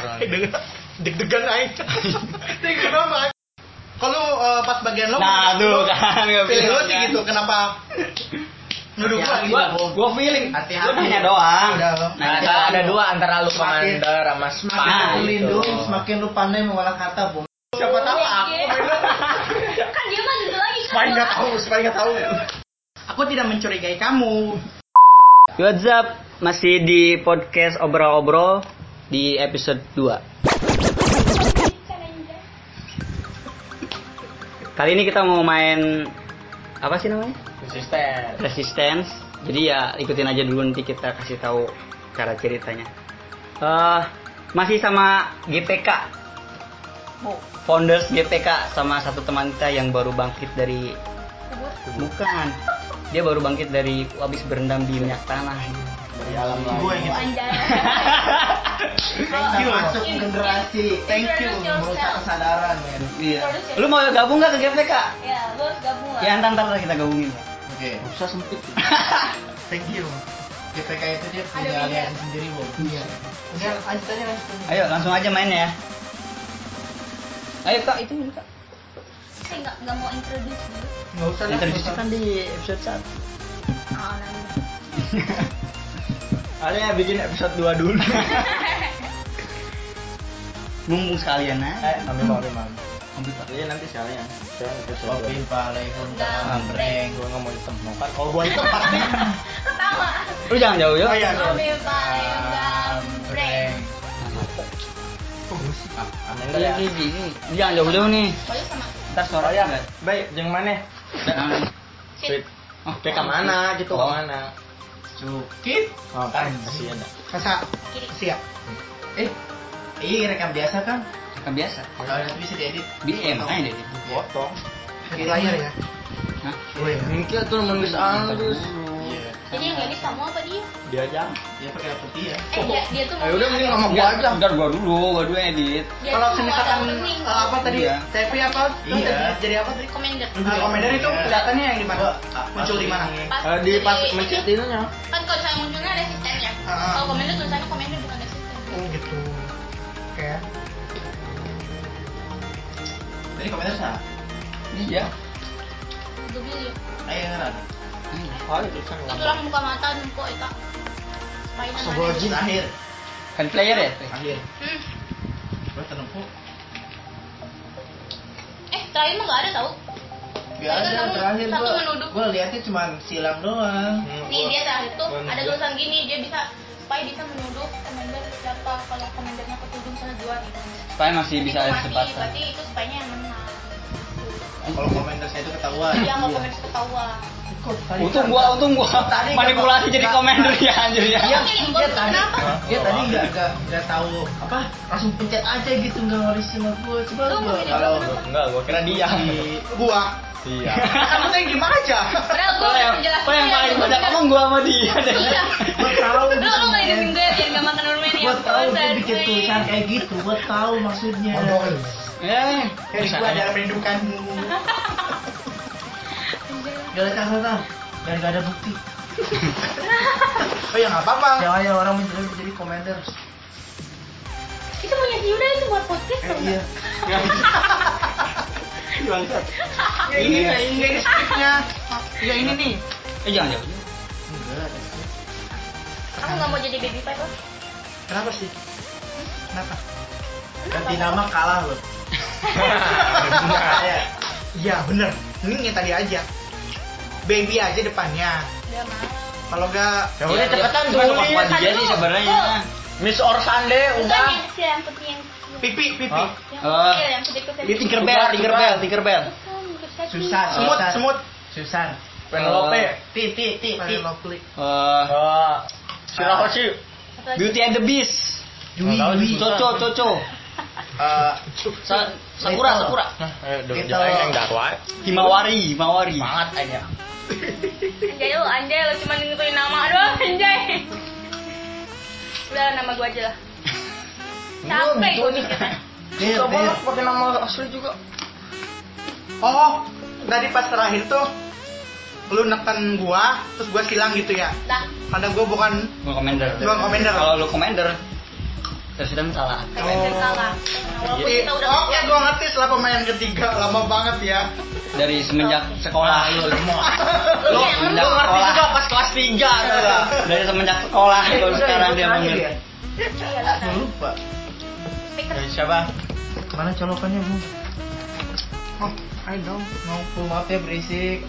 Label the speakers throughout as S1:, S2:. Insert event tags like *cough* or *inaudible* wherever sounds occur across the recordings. S1: sampai dengan Eh, deg-degan aing.
S2: Kan
S1: Ini kenapa? aing? Kalau eh, pas bagian lo
S3: Nah, tuh kan nggak
S1: pilih
S3: bilang,
S1: lo
S3: kan.
S1: sih gitu kenapa? Nuduh gua gitu.
S3: gua, gua feeling.
S2: Hati-hati.
S3: Lu nanya doang. kan
S1: Udah, lo.
S3: Nanya
S2: Nah,
S3: doang.
S2: ada dua antara lu
S1: Semakin-
S2: komander sama spa.
S3: semakin
S2: gitu.
S3: terlindung,
S1: semakin lu pandai mengolah kata, Bung. Siapa tahu aku
S4: Iya,
S1: *laughs*
S4: kan dia mah dulu lagi kan.
S1: Supaya nggak tahu, supaya nggak tahu. ya? Aku tidak mencurigai kamu.
S3: What's up? Masih di podcast obrol-obrol di episode 2. Kali ini kita mau main apa sih namanya?
S2: Konsisten.
S3: Resistance. Jadi ya ikutin aja dulu nanti kita kasih tahu cara ceritanya. Eh masih sama GPK. Founders GPK sama satu teman kita yang baru bangkit dari bukan. Dia baru bangkit dari habis berendam di minyak tanah.
S2: Dari alam lain.
S1: Gue gitu. Thank you. Masuk generasi. Thank you. Merusak kesadaran, men.
S3: Iya. Lu mau gabung nggak ke GPK?
S4: Ya, lu harus gabung lah.
S3: Ya ntar ntar kita gabungin.
S1: Oke.
S3: Usah sempit.
S1: *laughs* Thank you. GPK itu dia
S4: Ada
S1: punya
S4: media.
S1: aliansi sendiri, Bung. Iya. Udah, lanjut aja langsung.
S3: Ayo langsung aja main ya. Ayo kak itu kak.
S4: Saya nggak nggak mau introduce dulu.
S1: Nggak usah lah. nggak
S3: Introduce
S1: usah.
S3: kan di episode
S4: Oh, nanti.
S3: 1 Ada ya bikin episode 2 dulu *laughs* Mumpung sekalian
S2: Eh,
S3: aja
S2: ambil mau memang.
S3: Komputer
S2: Iya nanti sekalian. Sekarang episode
S1: Kopi palehun
S2: dua.
S1: kambreng.
S2: Gua nggak mau hitam mau kan. Kalau gua hitam pasti.
S4: Pertama.
S3: Lu jangan jauh-jauh
S1: Oh iya.
S4: Ambil paling gambreng.
S2: Aneh enggak
S3: Iya,
S2: ya?
S3: iya, iya. Lu Jangan jauh-jauh nih
S4: Boleh sama.
S3: Ntar
S2: Oh
S3: suaranya
S2: ya,
S3: enggak
S2: baik. Yang mana?
S3: Jangan.
S4: Sip.
S3: Oh,
S2: Kayak ke mana gitu? Ke
S3: Oh.
S2: mana?
S1: Cukit.
S2: Oh kan, kasihan
S1: ya.
S2: dah.
S1: Kasa.
S4: Kiri.
S1: Siap. Eh. Iya rekam biasa kan?
S3: Kan biasa
S1: Kalau nanti bisa diedit.
S3: Bisa ya makanya deh
S2: Potong.
S1: Di layar Iya. ya.
S3: Hah?
S1: Iya.
S2: Mungkin tuh nemen geus alus.
S1: Iya.
S4: Jadi yang edit kamu apa dia?
S2: Dia aja.
S1: Dia pakai putih ya.
S4: Eh, dia, dia tuh
S2: Ya udah
S4: maunya-
S2: mending sama gua aja.
S3: Ntar gua dulu, gua dulu yang edit
S4: dia
S1: Kalau
S4: tuh mau ada
S1: misalkan
S4: opening.
S1: eh, apa tadi?
S3: Iya.
S1: TV apa? Terus
S2: Iya.
S1: jadi- Jadi apa tadi?
S4: Commander.
S1: Nah, komandan itu
S2: Iya.
S1: kelihatannya yang Ah. di mana?
S2: Gua-
S1: Muncul di mana?
S4: Pas
S2: Eh, Di pas
S4: jadi-
S2: mencet ininya.
S4: Kan kalau misalnya munculnya ada sistemnya.
S1: Ah.
S4: Kalau commander tulisannya commander bukan ada sistem.
S1: Oh gitu. Kayak. Jadi komandan sana.
S3: Iya
S4: Gue beli.
S1: Ayo ngeran.
S3: Ah, iya.
S2: Oh, itu kan.
S4: Itu ya. orang buka mata numpuk itu. Mainan mana? gitu.
S1: Sebelum akhir.
S3: Kan player ya?
S1: Akhir.
S4: Hmm.
S1: Gue tenempuh.
S4: Eh, terakhir mah nggak ada tau.
S1: Gak
S4: Tadi kan
S1: ada
S4: kamu
S1: terakhir
S4: satu
S1: gua
S4: menuduh.
S1: gua liatnya cuma silang doang.
S4: Nih dia terakhir tuh
S2: Gua-
S4: ada
S2: gua-
S4: tulisan gini dia bisa supaya bisa menuduh komander siapa kalau komandernya ketujuh misalnya dua gitu.
S3: Supaya masih bisa ada
S4: Tapi itu mati,
S3: kesempatan
S4: berarti itu supaya yang menang.
S1: Kalau komentar saya itu ketahuan.
S4: Iya, kalau komander ketahuan.
S1: Kok tadi-
S3: Untung gua, untung gua
S1: Tadi
S3: manipulasi
S1: gak-
S3: jadi
S1: gak-
S3: komander ya anjir ya.
S1: Iya,
S4: Oke,
S1: iya
S4: gua-
S1: tadi.
S4: kenapa?
S1: Dia tadi
S2: Oh,
S1: nggak nggak nggak tahu apa langsung pencet aja gitu nggak ngeris sama gua coba
S4: Lu
S1: gua
S4: mau jadi
S1: kalau
S4: apa?
S2: Enggak, gua kira dia.
S1: di- gua
S2: Iya.
S1: kamu tanya gimana aja
S4: Padahal gue
S3: Kalau yang,
S4: menjelaskan.
S3: kalau yang paling banyak ngomong gua sama dia deh.
S4: Iya.
S1: gua tahu
S4: Lu
S1: gitu
S4: lu nggak
S1: men.
S4: izin gue biar nggak makan permen ya.
S1: gua tahu dia
S4: Bosan
S1: bikin
S4: gue.
S1: tulisan kayak gitu gua tahu maksudnya
S3: *laughs* Eh,
S1: dari gua ada merindukanmu gak ada kata dan gak ada bukti oh ya nggak apa-apa ya ya orang menjadi jadi komander
S4: Itu punya si Yuda itu buat podcast
S1: eh,
S4: dong.
S1: iya
S3: bangsat.
S2: Iya,
S1: ya ini ya ini nggak ini scriptnya ya ini nih
S3: Eh jangan jauh.
S1: enggak ada script.
S4: Aku nggak mau jadi baby pipe. loh.
S1: Kenapa sih? Kenapa? Ganti nama kalah loh.
S2: Benar.
S1: *laughs* Iya bener. Ini yang tadi aja. Baby aja depannya.
S4: Nggak mau.
S1: Kalau Iya, enggak
S2: Ya udah cepetan
S3: tuh.
S2: tuh.
S3: Iya, Cuma dia sih
S4: Aduh.
S3: sebenarnya.
S2: Miss or Sunday
S4: Bukan
S2: udah.
S4: yang kecil, yang putih yang kecil.
S1: pipi pipi.
S2: Hah?
S4: Yang
S3: Oh.
S4: kecil, yang kecil kecil.
S3: Dia Tinkerbell, Tinkerbell, Tinkerbell.
S4: Bukan, yang kecil.
S1: Susah,
S3: Semut,
S1: susah.
S3: semut.
S1: Susan.
S2: Penelope.
S1: Ti ti ti ti. Lovely.
S3: Eh,
S2: Oh. Shirahoshi.
S4: Satu lagi.
S3: Beauty and the Beast.
S1: Dwi
S2: Nggak tahu
S1: Dwi.
S2: sih.
S3: Coco, Coco.
S1: Eh,
S3: Sa- Sakura,
S1: Little.
S3: Sakura.
S2: Nah, ayo duduk
S1: Kita-
S2: aja yang dakwa.
S3: Himawari, Himawari.
S2: Banget aja.
S4: Anjay lo, anjay lo cuma ngikutin nama. Aduh, anjay. Udah nama gue aja lah. Capek gue mikirnya.
S3: Iya,
S2: Iya,
S1: Dit, dit.
S2: pakai nama asli juga.
S1: Oh, tadi pas terakhir tuh lu neken gua, terus gua silang gitu ya.
S4: Dah.
S1: Karena gua bukan
S3: Gua komander.
S1: Gua komander.
S3: Kalau lu komander, Presiden salah.
S4: Presiden salah. Walaupun
S2: Jadi,
S4: kita udah
S2: Oke, Oh, gua ngerti setelah pemain ketiga lama banget ya.
S3: Dari semenjak sekolah lu lemot.
S4: Lu yang
S2: Iya,
S3: semenjak
S4: lemot.
S3: sekolah. Iya.
S1: pas kelas 3
S3: Dari semenjak sekolah
S2: Eh,
S3: baru
S2: udah,
S3: sekarang
S2: yang
S3: dia
S2: terakhir
S3: mengerti.
S2: ya?
S4: Iya, lu
S2: Gua
S4: tahu.
S2: lupa.
S4: Speaker.
S3: Eh.
S1: Dari siapa?
S2: Mana colokannya, Bu? Oh, I don't know. Full maaf ya berisik.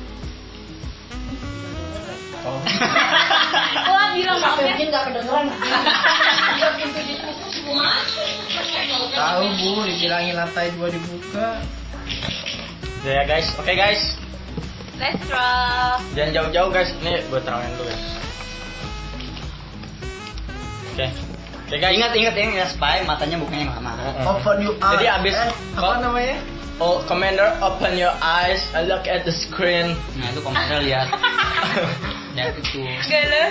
S2: Oh.
S4: Gua bilang maaf ya.
S2: nggak kedengeran. *laughs* Tahu bu, dibilangin lantai dua dibuka.
S1: Ya guys, oke guys.
S4: Let's rock.
S1: Jangan jauh-jauh guys. Nih gue terangin dulu guys. Oke. Oke guys.
S3: Ingat ingat yang ya spy matanya bukannya yang lama.
S1: Mm-mm.
S2: Open you up.
S1: Jadi abis-
S2: eh, apa
S1: oh.
S2: namanya?
S1: Oh, commander, open your eyes and look at the screen.
S3: Nah itu komentar
S1: *laughs*
S3: lihat. Ya itu.
S4: Gila.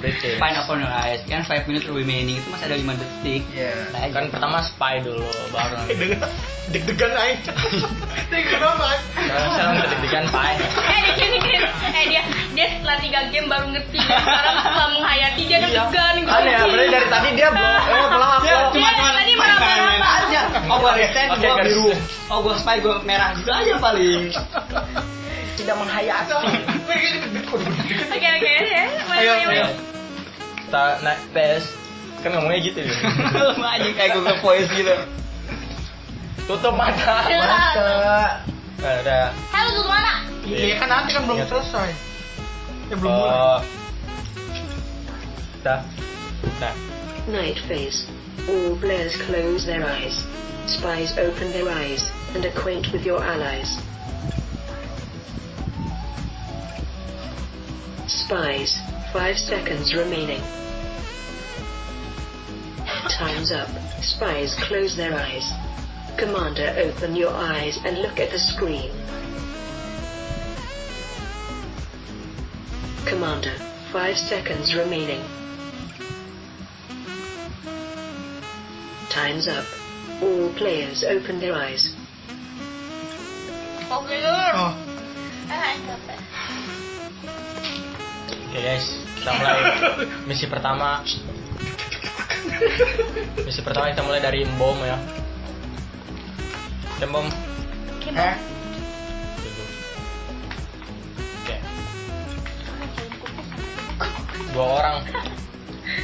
S1: British.
S3: Spy upon your eyes. Kan 5 minutes remaining itu masih ada 5 detik.
S2: Iya.
S3: Nah,
S1: Kan pertama spy dulu, baru nanti.
S2: Deg-degan *laughs* aja. Deg-degan banget.
S1: Sekarang sekarang deg-degan spy.
S4: *laughs* Eh, di sini Kin. Eh dia dia setelah tiga game baru ngerti. Sekarang setelah menghayati dia
S2: Iya.
S4: deg-degan gitu.
S1: Aneh ya, berarti dari tadi dia belum. Eh, belum aku.
S3: Dia
S4: cuma-cuma
S3: Ya, tadi
S4: main-main.
S3: meraba-raba aja. Oh gua resisten,
S1: Oke,
S3: gua
S1: garis.
S3: biru. Oh gua spy, gua merah gitu aja paling. Tidak menghayati.
S4: Oke oke ya.
S1: Ayo,
S4: Boleh, boleh,
S1: ayo. Kita naik tes. Kan ngomongnya gitu nih.
S3: Lu aja kayak Google Voice gitu.
S1: Tutup mata.
S4: boleh.
S2: Mata.
S1: Nah, udah.
S4: Halo, tuh mana?
S2: Iya kan nanti kan belum
S1: Iya.
S2: selesai. Ya belum mulai.
S1: Oh. Dah. Nah.
S5: Night phase. All players close their eyes. Spies open their eyes and acquaint with your allies. Spies. Five seconds remaining. Time's up. Spies close their eyes. Commander, open your eyes and look at the screen. Commander, five seconds remaining. Time's up. All players open their eyes.
S4: Oke, dulu.
S2: Oh,
S4: Ah, capek.
S1: Oke guys, kita mulai misi pertama. Misi pertama kita mulai dari bom ya. Kita bom.
S2: eh,
S1: Oke. Dua orang.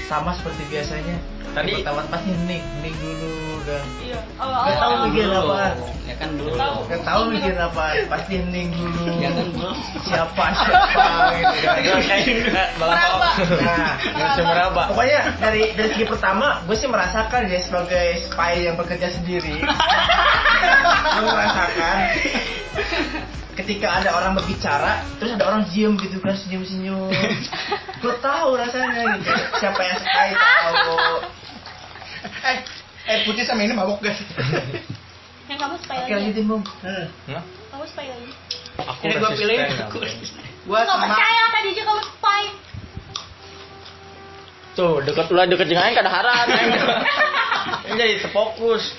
S2: sama seperti biasanya.
S1: Tadi-
S2: pertama pasti hening, hening dulu dan
S4: Iya.
S2: Nggak tahu
S4: Awal-awal.
S2: mikir
S3: Belum.
S2: apa.
S3: Oh, Ya kan belum.
S2: Gak tahu mikir apa, pasti hening dulu.
S3: Ya kan belum.
S2: *laughs* Siapa siapa gitu kan.
S1: Meraba.
S2: Nah,
S1: meraba.
S2: Pokoknya dari dari segi pertama, gue sih merasakan ya sebagai spy yang bekerja
S1: *laughs*
S2: sendiri. gue merasakan ketika ada orang berbicara, terus ada orang diem gitu kan senyum-senyum. gue tahu rasanya gitu. Siapa yang spy tahu. *laughs* Eh, eh putih sama ini mabok guys.
S4: Yang kamu spy
S2: Oke
S4: lagi.
S2: lanjutin bung. Eh,
S1: Hah?
S4: Kamu spy lagi.
S1: Aku
S2: Ini gua
S1: resisten,
S2: pilih.
S1: aku resisten.
S2: Gue
S4: Nggak
S2: sama.
S4: percaya tadi aja kamu spy.
S1: Tuh, dekat ulah dekat jeung aing kada haran.
S3: *laughs*
S1: Ini jadi terfokus.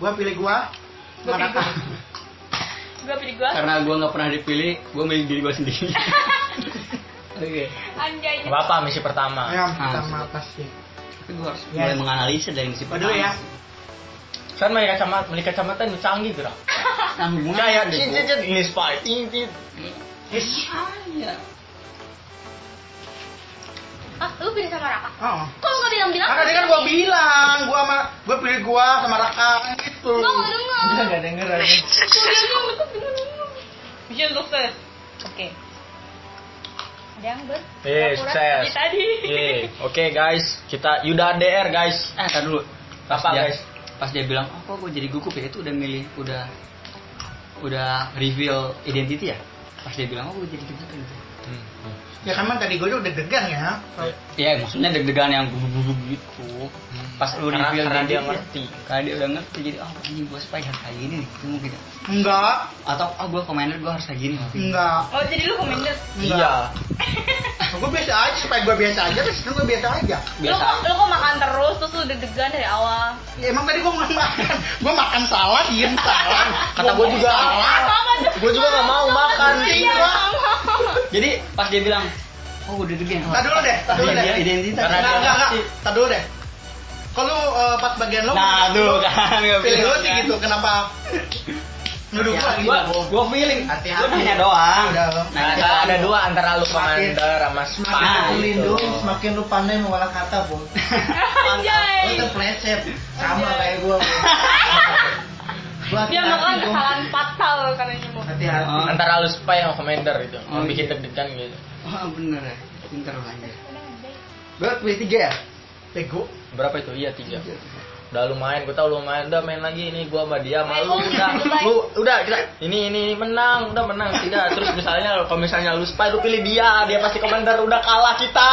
S2: Gue pilih gue.
S4: Gua pilih
S2: Manakah?
S4: Gua pilih gua.
S3: Karena gue nggak pernah dipilih, gue milih diri gue
S1: *laughs*
S3: sendiri. Oke.
S4: Anjay.
S1: Nggak apa misi pertama.
S2: Yang Iya, pertama pasti.
S3: Ah, Tapi gue harus
S2: Ya.
S3: mulai menganalisa dari misi
S2: Oh, dulu
S3: pertama.
S2: ya.
S1: Kan meli kacamata, meli kacamata nu canggih gerak.
S3: Sambung
S2: ya,
S1: Kayak
S3: aja,
S1: cin
S3: gua.
S1: cin cin ini spy. Cin cin.
S3: Iya, iya.
S4: Ah, lu pilih sama Raka.
S2: Oh.
S4: Kok lu nggak bilang-bilang?
S2: Ah, tadi kan gua bilang, gua sama gua pilih gua sama Raka *laughs* gitu.
S4: Gua nggak dengar.
S2: Udah enggak denger aja.
S4: Mission sukses. Oke. Ada yang ber?
S1: Eh,
S4: pura-pura
S1: sukses.
S4: seperti Tadi.
S1: Ye, Oke guys, kita Yuda DR guys.
S3: Eh, tar dulu. Pas
S1: Apa,
S3: dia,
S1: guys?
S3: Pas dia bilang, oh, kok gue jadi gugup ya? Itu udah milih, udah udah reveal identity ya? Pas dia bilang, oh gue jadi gugup gitu.
S2: Ya kan man tadi gua udah degan ya.
S3: Ya, maksudnya deg-degan yang gugup-gugup gitu. Pas lu
S1: Karena-
S3: reveal
S1: karena dia
S3: identity, ya,
S1: ngerti.
S3: Karena dia udah ngerti, jadi, oh anjing gue spy harus kayak gini nih. Itu mungkin. ya.
S2: Enggak,
S3: Atau, oh gue commander, gue harus kayak gini.
S2: enggak.
S4: Oh, jadi lu komentar.
S1: Iya.
S2: *laughs* Gua biasa aja, supaya gua biasa aja, terus gua biasa aja.
S4: Lu
S3: Biasa
S4: kok, lu kok makan terus terus lu deg-degan dari awal.
S2: Ya, emang tadi gua nggak makan, *laughs* gua makan salad, iya, diem salad.
S1: Kata gua juga.
S2: salah.
S1: Gue juga gak mau makan.
S4: Iya, sama.
S3: Jadi pas dia bilang, oh udah deg-degan.
S2: Tadi dulu deh, tadi dulu deh.
S3: Identitas.
S2: Iya. Enggak, enggak, enggak. Tadi dulu deh.
S1: Kalau eh, pas bagian lo
S3: Nah, tuh kan nggak
S1: pilih
S3: bilang
S1: lo
S3: kan.
S1: sih gitu. Kenapa? Nuduh
S3: Ya,
S1: gua lagi
S3: gua,
S1: bohong.
S3: gua feeling.
S1: Hati-hati.
S3: Gua nanya doang.
S1: Udah.
S3: Nanya
S2: Nah,
S3: doang.
S2: ada dua antara lu
S1: Semakin-
S2: komander sama
S1: Semakin
S3: Nah,
S1: lu
S3: gitu.
S1: berlindung, semakin lu pandai mengolah kata, Bo. Lu
S2: Iya.
S4: Anjay.
S1: terpleset. Sama
S4: Anjay.
S1: kayak gua, Bo.
S2: Iya,
S1: Gua
S4: Dia
S1: hati-hati,
S4: melakukan
S1: Bo.
S4: kesalahan fatal karena nyembuh.
S1: Hati-hati.
S3: Oh.
S2: antara lu spy sama commander itu
S3: Oh,
S2: yang bikin
S3: iya.
S2: deg-degan gitu
S3: Oh, bener ya. Pinter lu anjir. Gua pilih tiga ya?
S1: Bego.
S2: berapa itu iya tiga udah lumayan gua tau lumayan udah main lagi ini gua sama dia sama lu
S4: Ayo,
S2: udah
S4: bye.
S2: lu udah kita ini ini ini, menang udah menang tidak terus misalnya kalau misalnya lu spy lu pilih dia dia pasti commander udah kalah
S1: *laughs*
S2: kita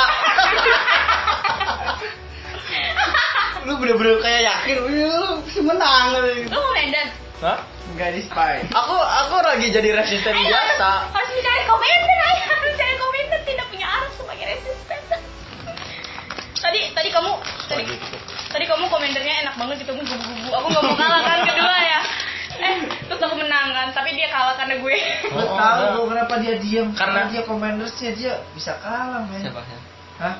S3: Lu bener-bener kayak
S1: ya,
S3: yakin, "Wih, lu pasti menang.
S4: Lu mau Medan?
S2: Hah?
S1: Enggak di spy.
S2: aku aku lagi jadi resisten
S4: Ayo, harus-
S2: biasa
S4: harus mencari komentar ayo harus mencari komentar tidak punya arah sebagai resisten tadi tadi kamu tadi
S3: gitu,
S4: tadi kamu komentarnya enak banget gitu kamu gubu-gubu aku nggak mau kalah kan kedua ya eh terus aku menang kan tapi dia kalah karena gue
S1: Gue
S2: Oh,
S1: tahu
S2: enggak.
S1: gua kenapa dia diam
S2: Karena-
S1: karena dia komendersnya dia bisa kalah men.
S3: Siapa? ya?
S1: Hah?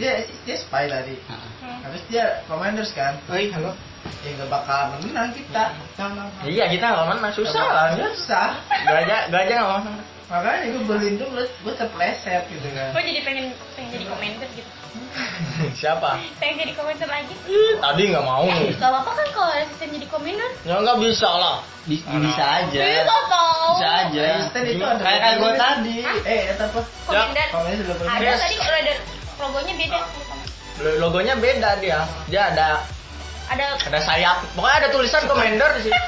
S1: Dia dia spy tadi.
S3: Ah.
S1: Habis dia commanders kan.
S3: Oi, halo.
S1: Ya nggak bakal menang kita. Sama.
S2: iya kita nggak menang susah lah ya
S1: Susah.
S2: gajah gajah nggak menang
S1: Makanya gue berlindung lu gue terpleset gitu kan.
S3: Oh,
S4: gue jadi pengen pengen jadi komentar gitu
S2: *laughs* siapa
S4: pengen jadi komentar lagi
S2: tadi nggak mau
S4: gak apa-apa kan kalau resisten jadi komentar
S2: ya nggak bisa lah
S3: Bi- Bisa aja.
S4: Ih, gak tau
S3: Ya. Bisa aja.
S1: Resisten Nah, itu ada
S3: iya. Kayak kayak gua
S1: komentar.
S3: tadi.
S1: Eh, itu apa?
S4: komentar
S1: Komentar sudah
S4: ada
S1: berlindung.
S4: tadi kalau ada logonya beda
S2: Lo- logonya beda dia dia ada
S4: ada
S2: ada sayap pokoknya ada tulisan commander di sini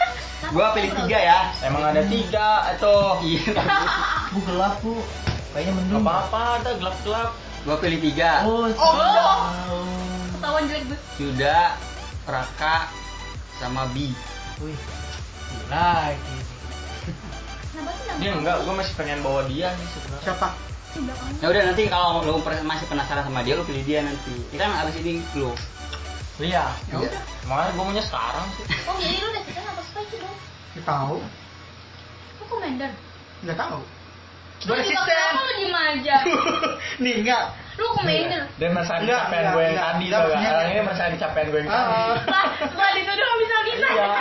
S3: Gua pilih tiga ya.
S2: emang ada tiga atau
S3: Iya.
S1: Bu gelap bu. Kayaknya mendung.
S2: apa apa ada gelap gelap
S3: Gua pilih tiga.
S1: Oh,
S4: Oh.
S1: sudah.
S4: ketahuan jelek gue
S3: Yuda, Raka, sama Bi.
S1: Wih.
S2: Nah,
S1: Lagi.
S4: kenapa sih
S2: dia enggak gue masih pengen bawa dia nih sebenarnya
S1: Siapa?
S3: Ya udah nanti kalau lu per- masih penasaran sama dia lu pilih dia nanti. Kita kan abis ini lu.
S2: iya
S1: Ya udah.
S2: makanya gue maunya sekarang sih
S4: Oh jadi lu resisten apa spy sih lu?
S1: Nggak tahu.
S4: Lu komander?
S1: Nggak tahu.
S4: Lu resisten? Lu diem aja
S1: *laughs* Nih enggak.
S4: Lu komander
S2: dia merasa
S1: Enggak,
S2: kecapean
S1: enggak,
S2: gue yang
S1: enggak.
S2: tadi
S1: Enggak,
S2: tau gak
S1: maksudnya-
S2: orang ini merasa kecapean gue yang tadi
S1: Ah.
S4: Lah, lah dituduh gak bisa gitu. bisa
S1: Ya.
S2: *laughs* iya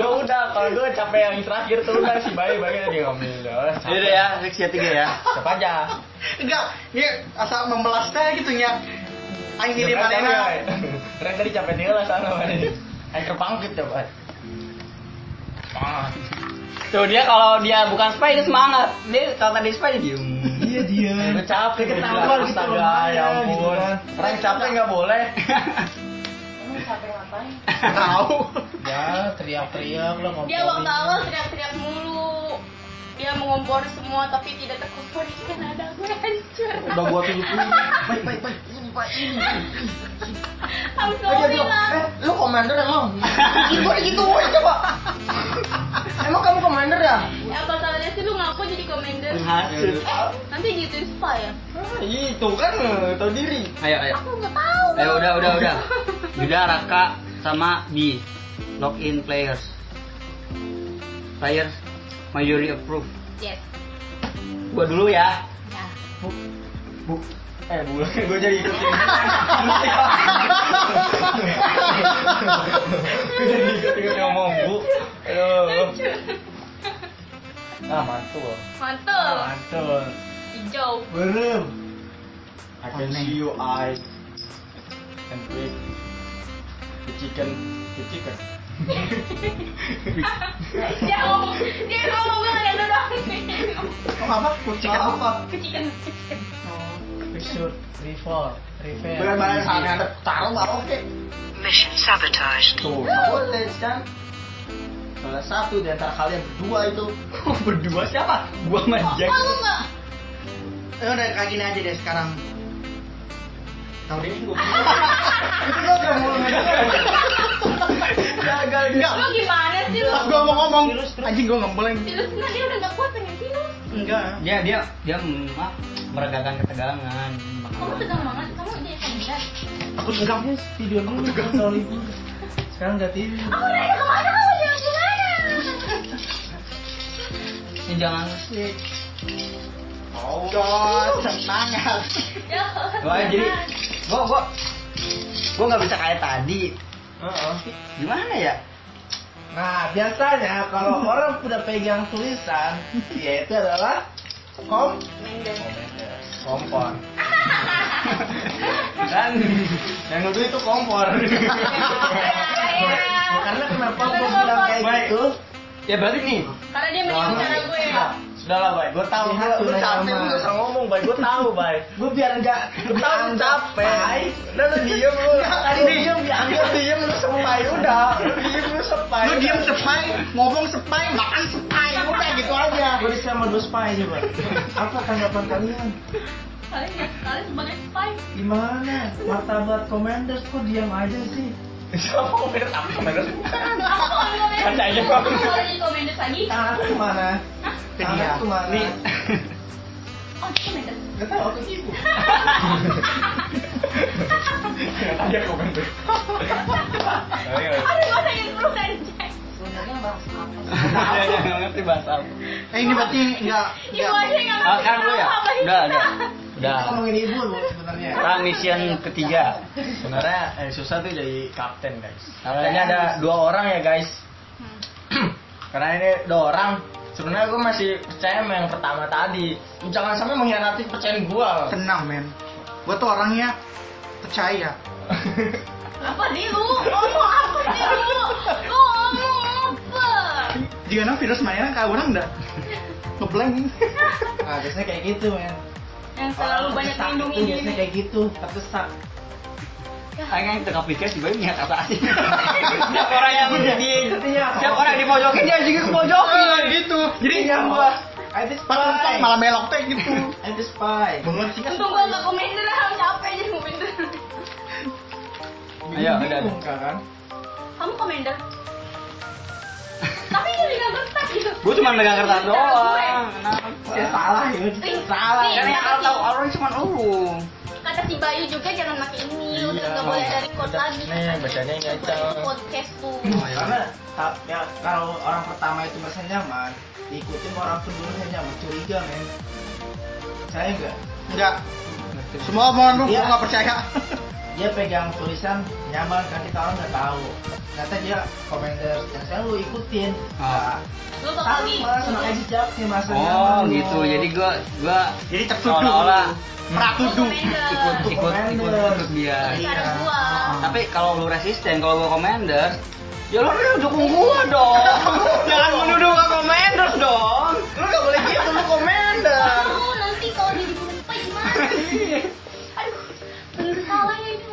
S2: gue udah kalau gue capek yang terakhir tuh udah si bayi bayi tadi ngomongin udah
S3: Ya udah ya, fix ya tiga ya.
S2: siapa aja
S1: Enggak. Dia asal memelasnya gitu ya. Aing diri
S2: Siapa aja,
S1: mana?
S2: Boy? Keren tadi capek dia lah sana Boy. Ayo terpangkit coba Ah.
S3: Tuh dia kalau dia bukan spy dia semangat. Dia kalau tadi spy dia diem.
S1: Iya dia.
S2: Udah capek
S1: Ketahuan
S2: ketahuan
S1: gitu
S2: astaga
S1: lemahnya,
S2: ya
S1: gitu
S2: ampun.
S1: kan.
S2: Orang capek nggak *laughs* boleh.
S4: Emang capek ngapain?
S1: Tahu. Ya teriak-teriak lah ngobrol.
S4: Dia waktu awal teriak-teriak mulu Dia mengompor semua tapi tidak terkompor Karena ada gue hancur
S3: Udah gua tujuh puluh.
S1: Baik baik baik. Ini pak ini.
S4: Habis
S1: Oh,
S4: kamu
S1: dia bilang,
S4: bilang
S1: eh lu komander emang. Ibu gitu woy, coba. Emang kamu komander ya?
S4: Ya apa salahnya sih lu ngaku jadi komander?
S3: Hasut.
S4: Eh, nanti gitu spy ya?
S2: Itu kan eh, tahu diri.
S3: Ayo ayo.
S4: Aku gak tau
S3: Ayo Eh, udah udah udah. Yuda, Raka, sama Bi. Login players. Players majority approve.
S4: Yes
S3: Gua dulu ya.
S4: Ya
S2: Bu. Eh bu, gue jadi ikutin. gue jadi ikutin ngomong bu. Aduh. Ah mantul.
S4: Mantul
S2: Mantul.
S4: Hijau
S1: Belum.
S2: I can see your eyes and wait. The chicken, the chicken.
S4: Dia ngomong Dia ngomong gue gak ada doang
S1: Oh, apa? Kucing apa?
S4: Kecikan
S1: Picture, refer, refer.
S2: Benar-benar saatnya ada taruh bawa oke.
S5: Mission sabotaged.
S2: Tuh, boleh kan? Salah satu di antara kalian berdua itu
S3: Berdua siapa? Gua sama Jack.
S4: Kok lu gak
S1: Eh, udah kayak gini aja deh sekarang.
S2: Tahu ini gue
S1: Itu kan udah mulai.
S2: gagal
S4: Lu gimana sih lu?
S1: Gua mau ngomong. Anjing gua ngembleng.
S4: Virus nah dia udah gak kuat pengen virus
S1: Enggak.
S3: Dia dia dia mm, apa, meregakan ketegangan.
S4: Kamu tegang banget, kamu jadi komentar
S1: Aku tegang guys, tidur dulu kan soal ibu. Sekarang udah tidur.
S4: Aku nanya kemana, kamu jalan kemana?
S3: Ya, jangan sih.
S1: Oh, semangat.
S4: Ya,
S3: Wah, jadi gua gua gue nggak bisa kayak tadi
S1: Heeh.
S3: gimana ya
S1: Nah, biasanya kalau
S2: *laughs*
S1: orang udah pegang tulisan, yaitu adalah kom
S2: *laughs*
S1: kompor. Dan
S2: Yang itu itu kompor. *laughs* Iya,
S1: karena kenapa gue bilang kayak
S2: Baik.
S1: gitu?
S2: ya berarti nih.
S4: Karena dia meniru cara gue ya.
S2: Sudah lah, Bay. Gue tahu.
S1: Lihat
S2: Gue
S1: tuh,
S2: capek.
S1: Rama.
S2: Gue gak usah ngomong, Bay. Gue tahu, Bay.
S1: Gue biar nggak
S2: Gue tahu lu
S1: dianggap
S2: capek.
S1: pai.
S2: Udah lu diem lu.
S1: Tadi
S2: Lu
S1: diem, dianggap.
S2: Lu diem lu sepai udah. Lu diem lu sepai.
S6: Lu diem
S2: udah.
S6: sepai, ngomong sepai, makan sepai, udah gitu aja.
S1: Gue disama dua spy coba. Apa tanggapan kalian?
S4: Kalian kalian ya, sebagai spy.
S1: Gimana? Martabat Commanders kok diam aja sih?
S2: Siapa ngomongin apa kemarin?
S4: Aku nggak mau komen.
S2: Ada aja, Bang.
S4: Aku nggak mau jadi komentar ya? lagi.
S1: Tangan aku kemana?
S6: ya.
S1: Tangan aku kemana?
S2: Nih.
S4: Oh, itu komentar.
S1: Gak tau aku sibuk.
S2: Tadi aku kan. Ayo.
S4: *laughs* Aduh, gue pengen peluk anjay.
S1: Sebenarnya bahas apa?
S3: Dia nggak ngerti bahasa apa
S6: Eh ini berarti nggak
S4: Ibu aja nggak
S3: Ah,
S4: ngerti
S3: kan lu ya
S4: apa apa
S3: udah
S4: kita.
S3: udah udah
S1: Kita ngomongin ibu loh sebenarnya.
S3: kita mission ketiga
S2: Sebenarnya eh, susah tuh jadi kapten, guys.
S3: Kapten.
S2: Karena ada dua orang ya, guys.
S4: Hmm.
S2: *clears throat* Karena ini dua orang. Sebenarnya gue masih percaya sama yang pertama tadi. Lu Jangan sampai mengkhianati percayaan gue.
S6: tenang men. Gue tuh orangnya percaya.
S4: Apa dia lu? Ngomong apa sih lu? Lu ngomong apa?
S6: Jika nang virus mainan kayak orang
S2: *laughs*
S6: dah ngeblank.
S1: Nah, biasanya kayak gitu, men.
S4: Yang selalu
S1: Orang
S4: banyak
S1: terdesak
S4: melindungi
S1: tuh
S4: diri.
S1: Biasanya kayak gitu, terdesak.
S3: Kayaknya kita pikir sih banyak nyata asing. Setiap orang yang
S6: Iya.
S3: di setiap orang yang dipojokin dia juga
S6: Eh,
S3: kepojokin.
S6: gitu.
S3: Jadi
S1: Iya, gua. I just
S6: Pas
S1: spy.
S6: ntar malah belok teh gitu.
S1: I just spy.
S6: Bangun sih kan.
S4: Untung gue nggak komentar, aku capek jadi komentar.
S3: Ayo, udah.
S1: Bingung, kan?
S4: Kamu komentar. Tapi dia juga kertas gitu.
S3: Gue cuma megang kertas
S4: Cara
S3: doang.
S4: gue.
S1: Ya salah ya.
S4: Ih, nih,
S3: Salah, kan yang
S4: kata
S3: tahu
S4: si-
S3: orang cuma lu.
S4: Kata si Bayu juga jangan pakai ini, lu
S2: Iya,
S4: nggak boleh dari kot
S2: baca-
S4: lagi.
S2: nih, bacanya
S4: katanya.
S2: nggak
S4: Coba
S2: jauh.
S4: itu podcast tuh.
S1: Iya, Karena ta- ya, kalau orang pertama itu merasa nyaman, diikuti sama orang kedua merasa nyaman, curiga men. Saya enggak.
S6: Enggak. Semua omongan lu
S1: Iya.
S6: gua nggak percaya.
S1: Dia pegang tulisan nyaman kan kita orang nggak tahu. Ternyata dia komander, ternyata lu ikutin.
S3: Ah.
S1: Nah,
S4: Lu bakal di.
S1: sama sama aja jawabnya masa
S3: Oh,
S1: nyaman.
S3: gitu. Jadi gue gue
S6: Jadi tertuduh.
S3: seolah-olah
S4: Lu
S6: Pratuduh.
S4: komentar.
S3: ikut ikut ikut ikut dia.
S4: Terus ada
S1: Iya.
S4: gua.
S3: Tapi kalau lu resisten, kalau gue commander, ya lu harus dukung gua
S6: *laughs*
S3: dong. Jangan menuduh gue commander dong.
S2: Lu gak boleh gitu, lu komander.
S4: Lu nanti kalau jadi guru spy gimana? Aduh, bener salah ya ini.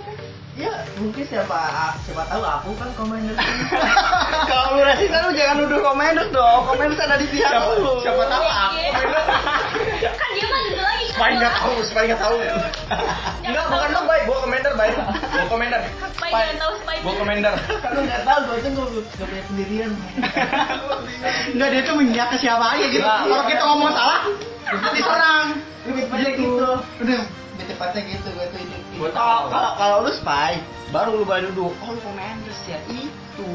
S1: Ya, mungkin siapa siapa tahu aku kan komander.
S3: *laughs* Kalau lu resisten lu jangan nuduh komendos dong. Komendos ada di pihak lu.
S2: Siapa tahu aku.
S4: Iya.
S3: *laughs*
S4: Kan dia mah gitu lagi. kan?
S2: Supaya nggak tahu, supaya nggak tahu.
S4: Jangan
S2: Enggak,
S4: tahu.
S2: bukan lu, Bay. Gua komander, Bay. Gua komander.
S4: Spy jangan Kan tahu spy.
S2: Gua komander.
S1: Kalau nggak tahu gue tuh nggak punya sendirian.
S6: Enggak dia tuh mengiak ke siapa aja gitu.
S3: Lah.
S6: Kalau kita ngomong salah, *laughs* diserang.
S1: Lebih cepatnya gitu. Udah, lebih cepatnya gitu gue tuh ini.
S2: Gua
S3: Kalau
S2: tahu.
S3: kalau- kalau lu spy, baru lu baru nuduh. Oh, lu komendos ya. Itu.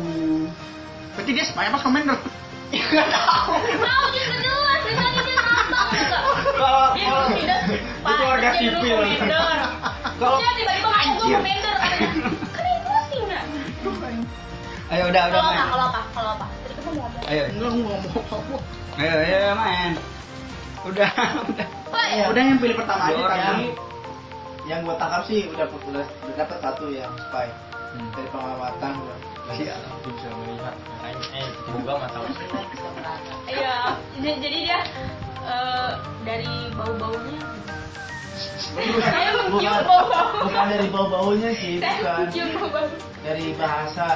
S6: Berarti dia spy apa commander?
S4: Tahu juga jelas, dia tadi dia nantang juga.
S3: Kalau
S4: Dia
S3: kalau
S4: tidak spy.
S2: Itu warga
S4: dia dulu
S2: sipil.
S4: komander.
S3: kalau
S4: Dia tiba-tiba ngaku gua komander. katanya. Kan itu sih nggak?
S3: Ayo udah udah.
S4: Kalau apa?
S3: main.
S4: Kalau apa? Kalau apa? Tadi kamu mau ngomong.
S3: Ayo.
S6: Enggak gua ngomong apa.
S3: Ayo, ayo main. Udah, *laughs* udah.
S4: Pak,
S1: Iya.
S6: Udah yang pilih pertama
S3: Dua
S6: aja
S3: orang ya.
S6: tadi.
S3: yang-
S1: yang gue tangkap sih udah udah udah dapet satu yang spy
S7: Hmm.
S1: dari pengamatan gue
S2: Iya, aku bisa melihat. Eh, buka mata lu.
S4: iya. Jadi jadi dia eh, dari bau-baunya. Saya mencium bau-bau.
S1: bukan dari bau baunya sih
S4: Saya
S1: bukan
S4: mencium bau-bau.
S1: dari bahasa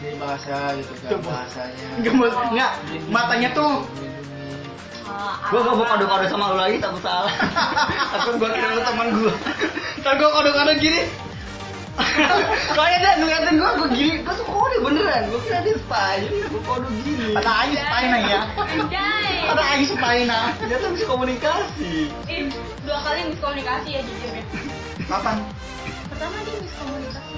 S1: dari bahasa gitu kan bahasanya
S6: Gemes, enggak, matanya tuh
S4: Ah,
S3: Gua gua gua kode-kode sama lu lagi takut
S6: *laughs*
S3: salah. Takut gua kira lu teman gua. Ntar gua kode-kode gini. Soalnya dia ngeliatin gua gua gini, gua tuh kode beneran. Gua kira dia spy, jadi gua kode gini.
S6: ada aing spy nah ya.
S4: Dai.
S6: Ada aing spy nah.
S3: Dia tuh bisa komunikasi.
S4: Eh, dua kali miskomunikasi ya jujur ya.
S6: Kapan?
S4: Pertama dia miskomunikasi.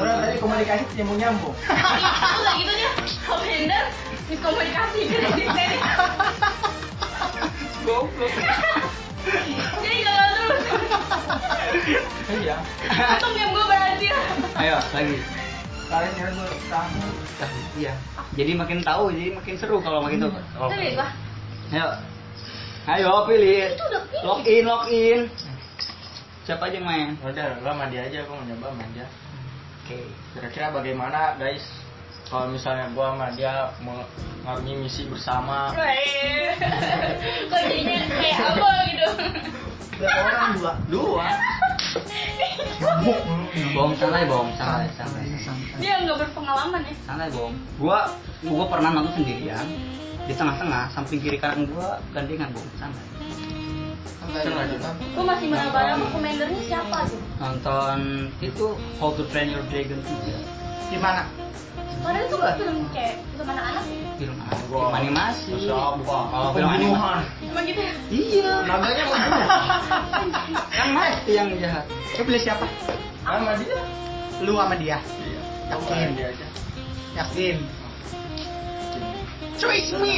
S1: orang tadi komunikasi nyambung nyambung
S4: *laughs* Itu lagi tuh dia offender miskomunikasi dari sini.
S3: Goblok.
S4: Jadi gagal terus.
S3: Iya.
S4: Untung game gue berhasil.
S3: Oh.
S7: Ayo lagi.
S3: Kalian sekarang gue tahu.
S7: Nah, iya. Jadi makin tahu, jadi makin seru kalau makin tahu.
S4: Itu deh lah.
S7: Ayo. Ayo pilih.
S4: Itu udah pilih.
S7: Login, login. Siapa aja yang main?
S3: Ya Udah, gua mandi aja, gua mau nyoba sama dia.
S7: Oke.
S3: Kira-kira bagaimana guys kalau misalnya gua sama dia mengarungi misi bersama?
S4: Weh. Kok jadinya kayak apa gitu.
S1: Berapa orang dua?
S7: Dua.
S3: Hmm.
S7: Bohong santai, bohong santai, santai.
S4: Dia nggak berpengalaman ya.
S7: Santai bohong. Gua gua pernah nonton sendirian di tengah-tengah samping kiri kanan gua gandengan bohong santai.
S3: Seru aja.
S4: Gue masih meraba-raba komendernya siapa tuh.
S7: Nonton itu How to Train Your Dragon 3
S1: Di mana?
S4: Padahal itu bukan film kayak film anak-anak sih.
S7: film
S3: Gua-
S7: film animasi.
S3: Siapa?
S7: Oh, film animasi.
S4: Cuma gitu ya.
S7: Iya.
S3: Naganya mau
S7: Kan mati yang jahat.
S2: Lu pilih siapa?
S3: sama dia.
S2: Lu sama dia.
S3: Iya.
S2: Yakin.
S3: Gua sama dia aja.
S2: Yakin. Choice me.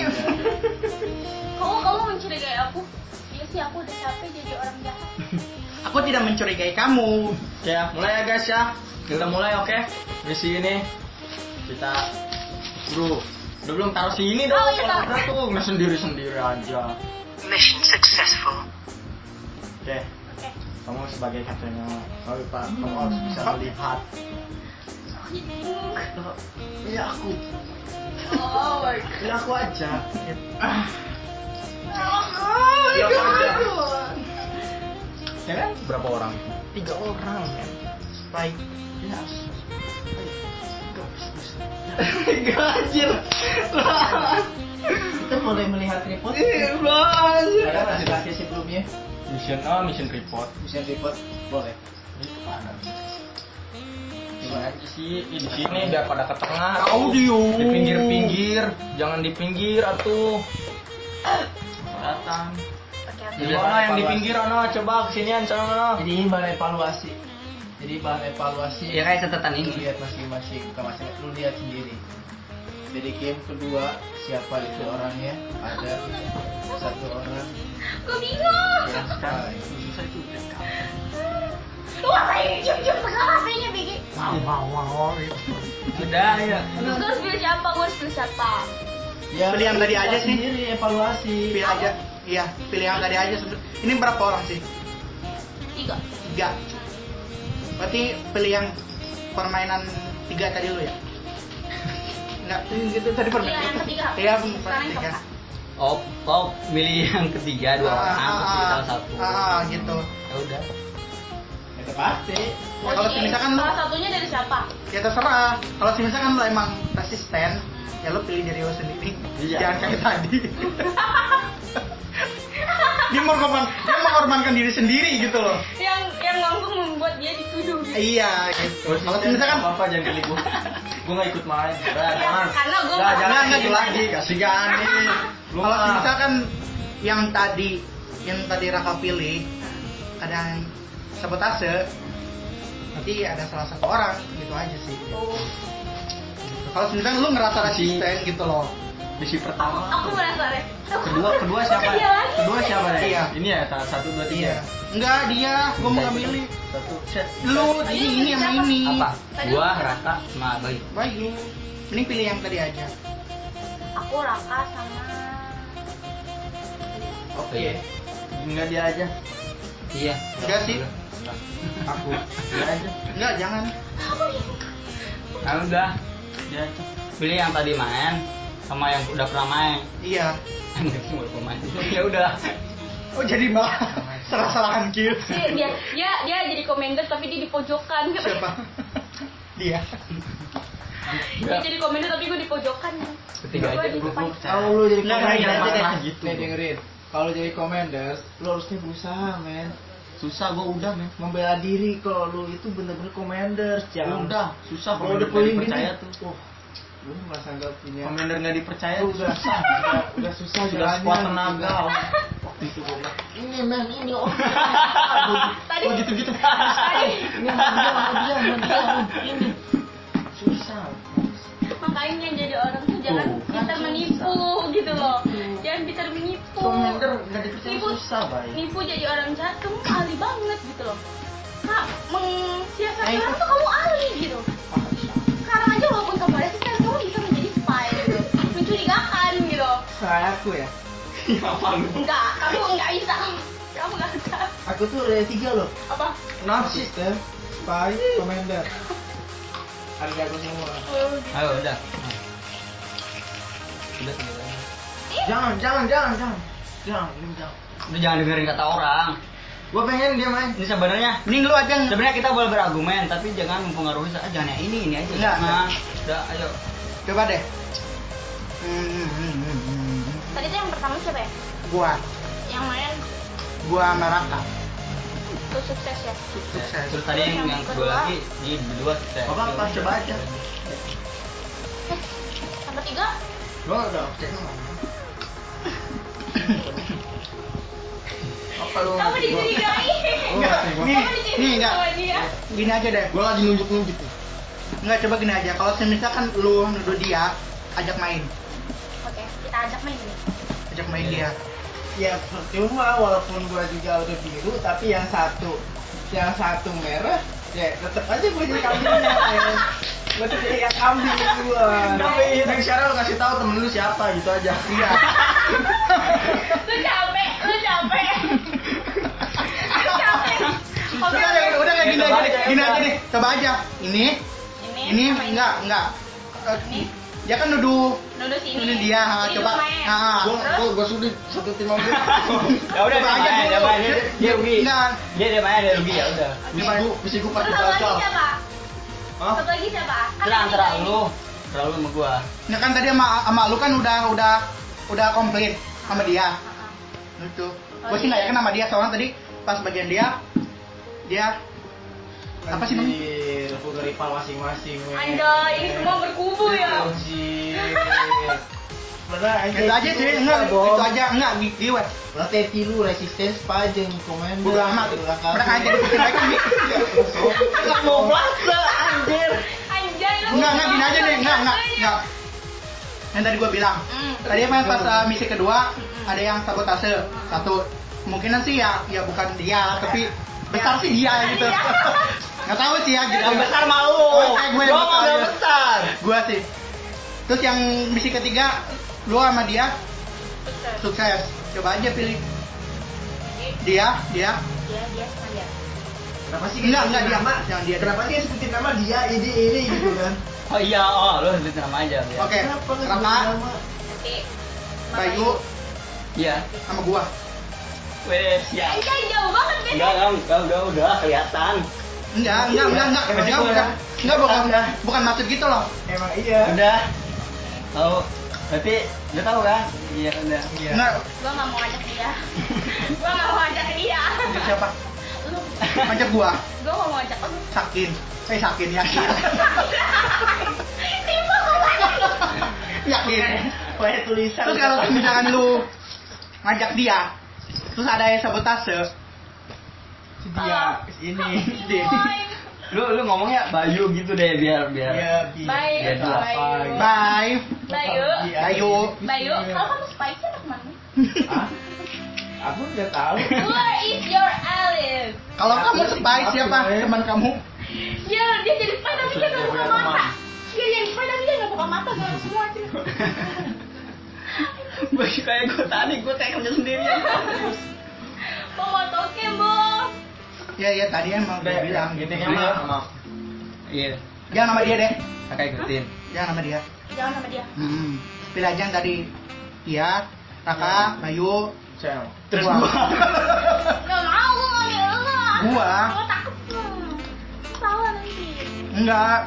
S4: Kok kamu mencurigai aku? Iya sih aku udah capek jadi orang jahat.
S2: Aku tidak mencurigai kamu.
S3: Oke, ya, mulai ya guys ya. Kita mulai oke. Misi ini kita bro. Udah belum taruh sini dong.
S4: Oh, iya, taruh.
S3: Kalau tuh nggak sendiri-sendiri aja.
S5: Mission successful.
S3: Oke,
S4: Oke.
S3: kamu sebagai katanya kalau Pak, kamu harus bisa
S4: Hmm.
S3: melihat. Iya aku,
S4: Oh my god.
S3: iya aku aja.
S4: Oh my god.
S3: Ya kan?
S7: Berapa orang?
S1: Tiga orang kan. Baik.
S3: Iya.
S7: Gajir.
S1: Kita boleh melihat report. Ada
S7: Gajir.
S1: presentasi sebelumnya.
S3: Mission oh mission report.
S1: Bisa report boleh.
S3: Gimana aja sih Ih, di sini biar pada ke tengah.
S2: Audio.
S3: Di pinggir-pinggir,
S4: Eh.
S3: jangan di pinggir atuh. Datang.
S2: Iya.
S4: Oke oke.
S3: Di mana yang di pinggir ano coba kesinian sana ano.
S1: Jadi ini bahan evaluasi. Jadi bahan evaluasi.
S3: Iya,
S7: Ya kayak catatan
S1: Lu
S7: ini.
S1: lihat masing-masing bukan masing lu lihat sendiri jadi game kedua siapa itu orangnya ada satu orang
S4: Gue bingung.
S1: yang sekali
S4: Wah saya cium-cium kepala kayaknya Bigi.
S3: Udah ya.
S4: Gue harus pilih siapa? Gue harus pilih siapa?
S1: ya
S2: Pilih yang tadi aja sih.
S1: sendiri evaluasi
S2: Pilih aja. Iya, pilih yang tadi aja. sebe- Ini berapa orang sih?
S4: Tiga.
S2: Tiga. Berarti pilih yang permainan tiga tadi lu ya? Enggak, itu tadi
S4: Iya
S2: permainan.
S4: yang ketiga.
S2: Iya, permainan
S4: Sekarang yang
S2: tiga.
S4: keempat.
S7: Oh, oh, milih yang ketiga dua orang, terus pilih salah satu.
S2: Ah, ah, gitu.
S7: Ya udah.
S1: itu pasti
S2: Ya, kalau
S4: Oke,
S2: misalkan lu-
S4: salah satunya dari siapa? *laughs*
S2: Ya terserah. Kalau misalkan lo emang resisten, ya lo pilih diri lo sendiri.
S3: Iya.
S2: Jangan kayak tadi. dia mengorbankan, dia mengorbankan diri sendiri gitu loh.
S4: yang yang langsung membuat dia dituduh gitu.
S2: Iya, gitu. Kalau misalkan
S3: Gak apa-apa jangan pilih gua. Gua gak ikut
S7: *laughs*
S3: main. Udah,
S4: Ya,
S3: jangan.
S4: karena gua
S3: Udah,
S4: mah-
S3: jangan
S2: Nggak,
S3: itu
S2: nggak,
S3: lagi kasihan nih. Lu
S2: kalau
S3: mah.
S2: misalkan yang tadi yang tadi Raka pilih ada yang sabotase nanti ada salah satu orang gitu aja sih kalau misalkan lu ngerasa
S3: Si-
S2: resisten gitu loh
S3: misi pertama.
S4: Aku merasa deh.
S3: Kedua, kedua
S4: Bukan
S3: siapa?
S4: dia lagi.
S3: Kedua siapa ya?
S2: Iya.
S3: Ini ya ta- satu dua tiga.
S2: iya enggak dia gua mau
S3: Satu,
S2: milih
S3: Satu set.
S2: lu ini ini sama ini
S7: Apa?
S4: Tadi
S7: Gua
S4: lu-
S7: Raka sama Bayu.
S2: baik mending pilih yang tadi aja
S4: Aku Raka sama
S7: Oke.
S3: Enggak dia aja.
S7: Iya.
S2: Enggak sih.
S3: Aku. Dia aja.
S2: enggak jangan
S3: Ya
S7: Kan udah
S3: Dia aja.
S7: pilih yang tadi main sama yang udah pernah
S3: *laughs*
S7: main.
S2: iya
S7: Anjing baru pernah main. Ya udah.
S2: oh jadi malah gitu. salah-salahan kill
S4: si dia dia dia jadi komander tapi dia di pojokan.
S2: siapa dia
S4: Dia jadi komander tapi gue di pojokan.
S7: Ketiga
S4: Gua
S7: aja.
S4: di depan.
S1: kalau lu
S2: Nggak,
S1: jadi commander
S2: nggak, nggak,
S1: aja
S3: nggak,
S1: deh
S3: Nah, gitu.
S1: nih dengerin kalau jadi commander lu harusnya berusaha men
S3: Susah gua udah men.
S1: membela diri kalau lu itu bener-bener commander jangan
S3: Udah, susah
S1: kalau udah
S3: nggak
S1: paling
S3: dipercaya
S1: gini
S2: gitu.
S3: tuh.
S1: wah lu merasa nggak punya
S3: Komander nggak dipercaya tuh
S1: Lu udah
S3: susah.
S1: udah- udah susah
S3: Sudah sekuat
S1: jalannya,
S3: tenaga.
S1: gitu.
S3: om.
S1: ini men ini oh
S4: Tadi
S3: Oh gitu-gitu.
S4: tadi
S1: ini men dia men, dia men, dia men. ini susah
S4: makanya jadi orang tuh jangan pintar menipu gitu loh jangan pintar menipu
S1: Commander nggak dipercaya
S4: nipu
S1: susah baik.
S4: nipu jadi orang jahat kamu ahli banget gitu loh kak mengsiasati orang tuh kamu ahli gitu sekarang aja walaupun kamu resisten kamu bisa menjadi spy gitu mencurigakan gitu
S2: Saya aku ya.
S4: enggak kamu enggak bisa kamu enggak bisa
S1: Aku tuh ada tiga loh.
S4: apa
S1: Narcissist, spy, commander. Ada jago
S4: oh,
S1: semua.
S4: gitu.
S3: Ayo udah. Udah sebenarnya.
S1: Jangan, jangan, jangan, jangan. Jangan, ini jangan.
S3: Lu jangan dengerin kata orang.
S1: Gua pengen dia main.
S3: Ini sebenarnya
S2: Mending lu aja yang
S3: sebenarnya kita boleh berargumen tapi jangan mempengaruhi saya. Ah, Jangan yang ini ini aja.
S2: Enggak,
S3: Nah, udah ayo.
S2: coba deh. Hmm, hmm, hmm, hmm.
S4: tadi tuh yang pertama siapa ya
S2: Gua,
S4: yang main
S2: gua meraka.
S4: tuh sukses ya
S2: Sukses.
S3: Terus tadi yang, yang kedua lagi di berdua kita.
S1: Apa apa coba aja.
S4: eh yang ketiga
S1: Gua udah oke sama. Apa lu?
S4: kamu dicurigai
S2: Enggak, Oh, nih,
S4: kamu
S2: nih
S4: dicurigai
S2: enggak.
S4: sama dia
S2: Gini aja deh.
S1: Gua lagi nunjuk-nunjuk nih.
S2: Enggak coba gini aja. Kalau misalkan lu nuduh dia, ajak main.
S4: oke kita ajak main ini
S2: Ajak main dia.
S1: Ya percuma walaupun gua juga udah biru tapi yang satu yang satu merah ya tetep aja gua jadi kambingnya ya. Gua tuh jadi yang kambing gua.
S4: Tapi,
S1: next sekarang lu kasih tahu temen lu siapa gitu aja. Iya. *laughs*
S4: lu capek lu capek lu capek oke
S2: Udah deh, udah kayak gini
S1: Coba
S2: aja deh.
S1: aja,
S2: Gini
S1: coba.
S2: aja deh. Coba aja. Ini,
S4: ini
S2: ini
S4: sama
S2: enggak, enggak. Eh,
S4: ini
S2: Dia kan nuduh
S4: nuduh sini
S2: nuduh dia, ha,
S4: Ini
S2: coba.
S4: main.
S2: Nah,
S1: Gua
S4: Terus?
S1: gua, gua sulit satu tim
S2: *laughs*
S1: sama dia.
S3: *laughs* Ya udah
S2: Coba Nah.
S3: dia
S2: aja
S3: main,
S2: dulu.
S3: dia main. Dia, dia rugi.
S2: Enggak.
S3: Dia dia main dia rugi ya udah.
S1: Misi gua, misi gua
S4: terus
S1: pasti
S4: satu lagi
S1: gagal.
S4: siapa
S1: Hah?
S4: satu lagi siapa Kan
S3: Terang
S4: tadi
S3: terang
S4: main.
S3: lu. Terang lu sama gua.
S2: Nah kan tadi sama, sama lu kan udah udah udah komplit sama dia.
S4: Heeh.
S2: Lucu.
S4: Oh
S2: Gue
S4: iya.
S2: sih nggak yakin sama dia soalnya tadi pas bagian dia dia apa sih namanya?
S1: Anjir, gua geripal masing-masing. weh.
S4: Anjay, ini semua berkubu
S2: Gitu.
S4: ya.
S1: Anjir. Benar
S2: Itu aja sih, enggak, itu aja, enggak, gi- giwe.
S1: Berarti tilu resistens pajeng komander.
S2: Bodo amat, mereka aja dibikin mereka nih.
S1: Enggak mau plaza anjir.
S4: Anjay, lu
S2: Enggak, enggak, gini aja deh, enggak, enggak,
S4: Anjay.
S2: enggak. Yang tadi gue bilang,
S4: Hmm.
S2: tadi pas, pas uh, misi kedua ada yang sabotase satu kemungkinan sih ya ya bukan dia tapi besar sih dia gitu nggak tahu sih ya gitu
S3: Yang besar mau.
S2: Oh, eh, gue yang
S3: Gua
S2: besar.
S3: yang besar.
S2: gua sih terus yang misi ketiga lu sama dia
S4: Sukses.
S2: sukses coba aja pilih
S4: Jadi,
S2: dia dia
S4: Dia, dia, sama dia.
S1: Kenapa sih
S2: Enggak, enggak, dia.
S1: nama?
S2: Jangan dia.
S1: Kenapa sih sebutin nama dia ini ini gitu kan?
S3: Oh iya, oh lu sebut nama aja biar.
S2: oke
S1: Kenapa nggak sebutin
S2: Raka
S1: nama?
S4: Nanti. Mama
S2: Bayu
S3: Iya.
S2: sama gua
S3: Wes,
S4: ini.
S3: ya.
S4: Anjay, jauh banget beda.
S3: Enggak, enggak, enggak, udah, udah kelihatan.
S2: enggak enggak enggak enggak
S1: Emang
S2: enggak
S1: gua
S2: bukan
S1: ya?
S2: enggak bukan
S1: Enggak.
S2: bukan maksud gitu loh
S1: Emang iya.
S3: Udah. Tahu. Berarti udah tahu kan? Iya, udah.
S1: Iya.
S2: enggak
S4: Gua nggak mau ajak dia. *laughs* Gua nggak mau ajak dia.
S2: siapa
S4: Lu,
S2: ngajak gua
S4: gua nggak mau ajak lu.
S2: sakin eh sakin yakin
S4: Tipu lagi.
S2: yakin
S1: Kayak tulisan.
S2: terus kalau misalkan lu ngajak dia terus ada yang sabotase
S1: dia Iya, ini
S2: Dia.
S3: Lu lu ngomongnya Bayu gitu deh biar biar.
S2: Iya.
S1: dia bi-
S4: Bayu,
S3: Dia dua
S4: Bayu.
S2: bye
S4: Bayu.
S1: Dia-
S2: Bayu.
S4: Bayu, kalau kamu spike sih anak mana?
S1: Hah? Aku nggak tahu.
S4: Where is your Alice?
S2: *laughs* kalau kamu spy siapa
S1: Aku, eh.
S2: teman kamu
S4: Ya, dia jadi spy tapi dia nggak buka mata. Dia jadi spy tapi dia nggak buka mata bareng semua sih.
S3: Gue kayak gue tadi gue tekamnya sendiri.
S4: Bang Watoke, Bang.
S2: ya ya tadi emang udah bilang gitu
S1: Intinya mah maaf.
S3: Iya.
S2: jangan sama dia deh
S3: Kakak ikutin.
S2: jangan sama dia
S4: Jangan sama dia.
S2: Hmm. Pilih aja yang tadi dia, Raka, Bayu,
S1: Cel.
S3: Terus
S2: Wah.
S3: gua.
S4: Nggak mau gua ngambil lu.
S2: Gua?
S4: Gua takut lu. Salah nanti.
S2: *laughs* enggak.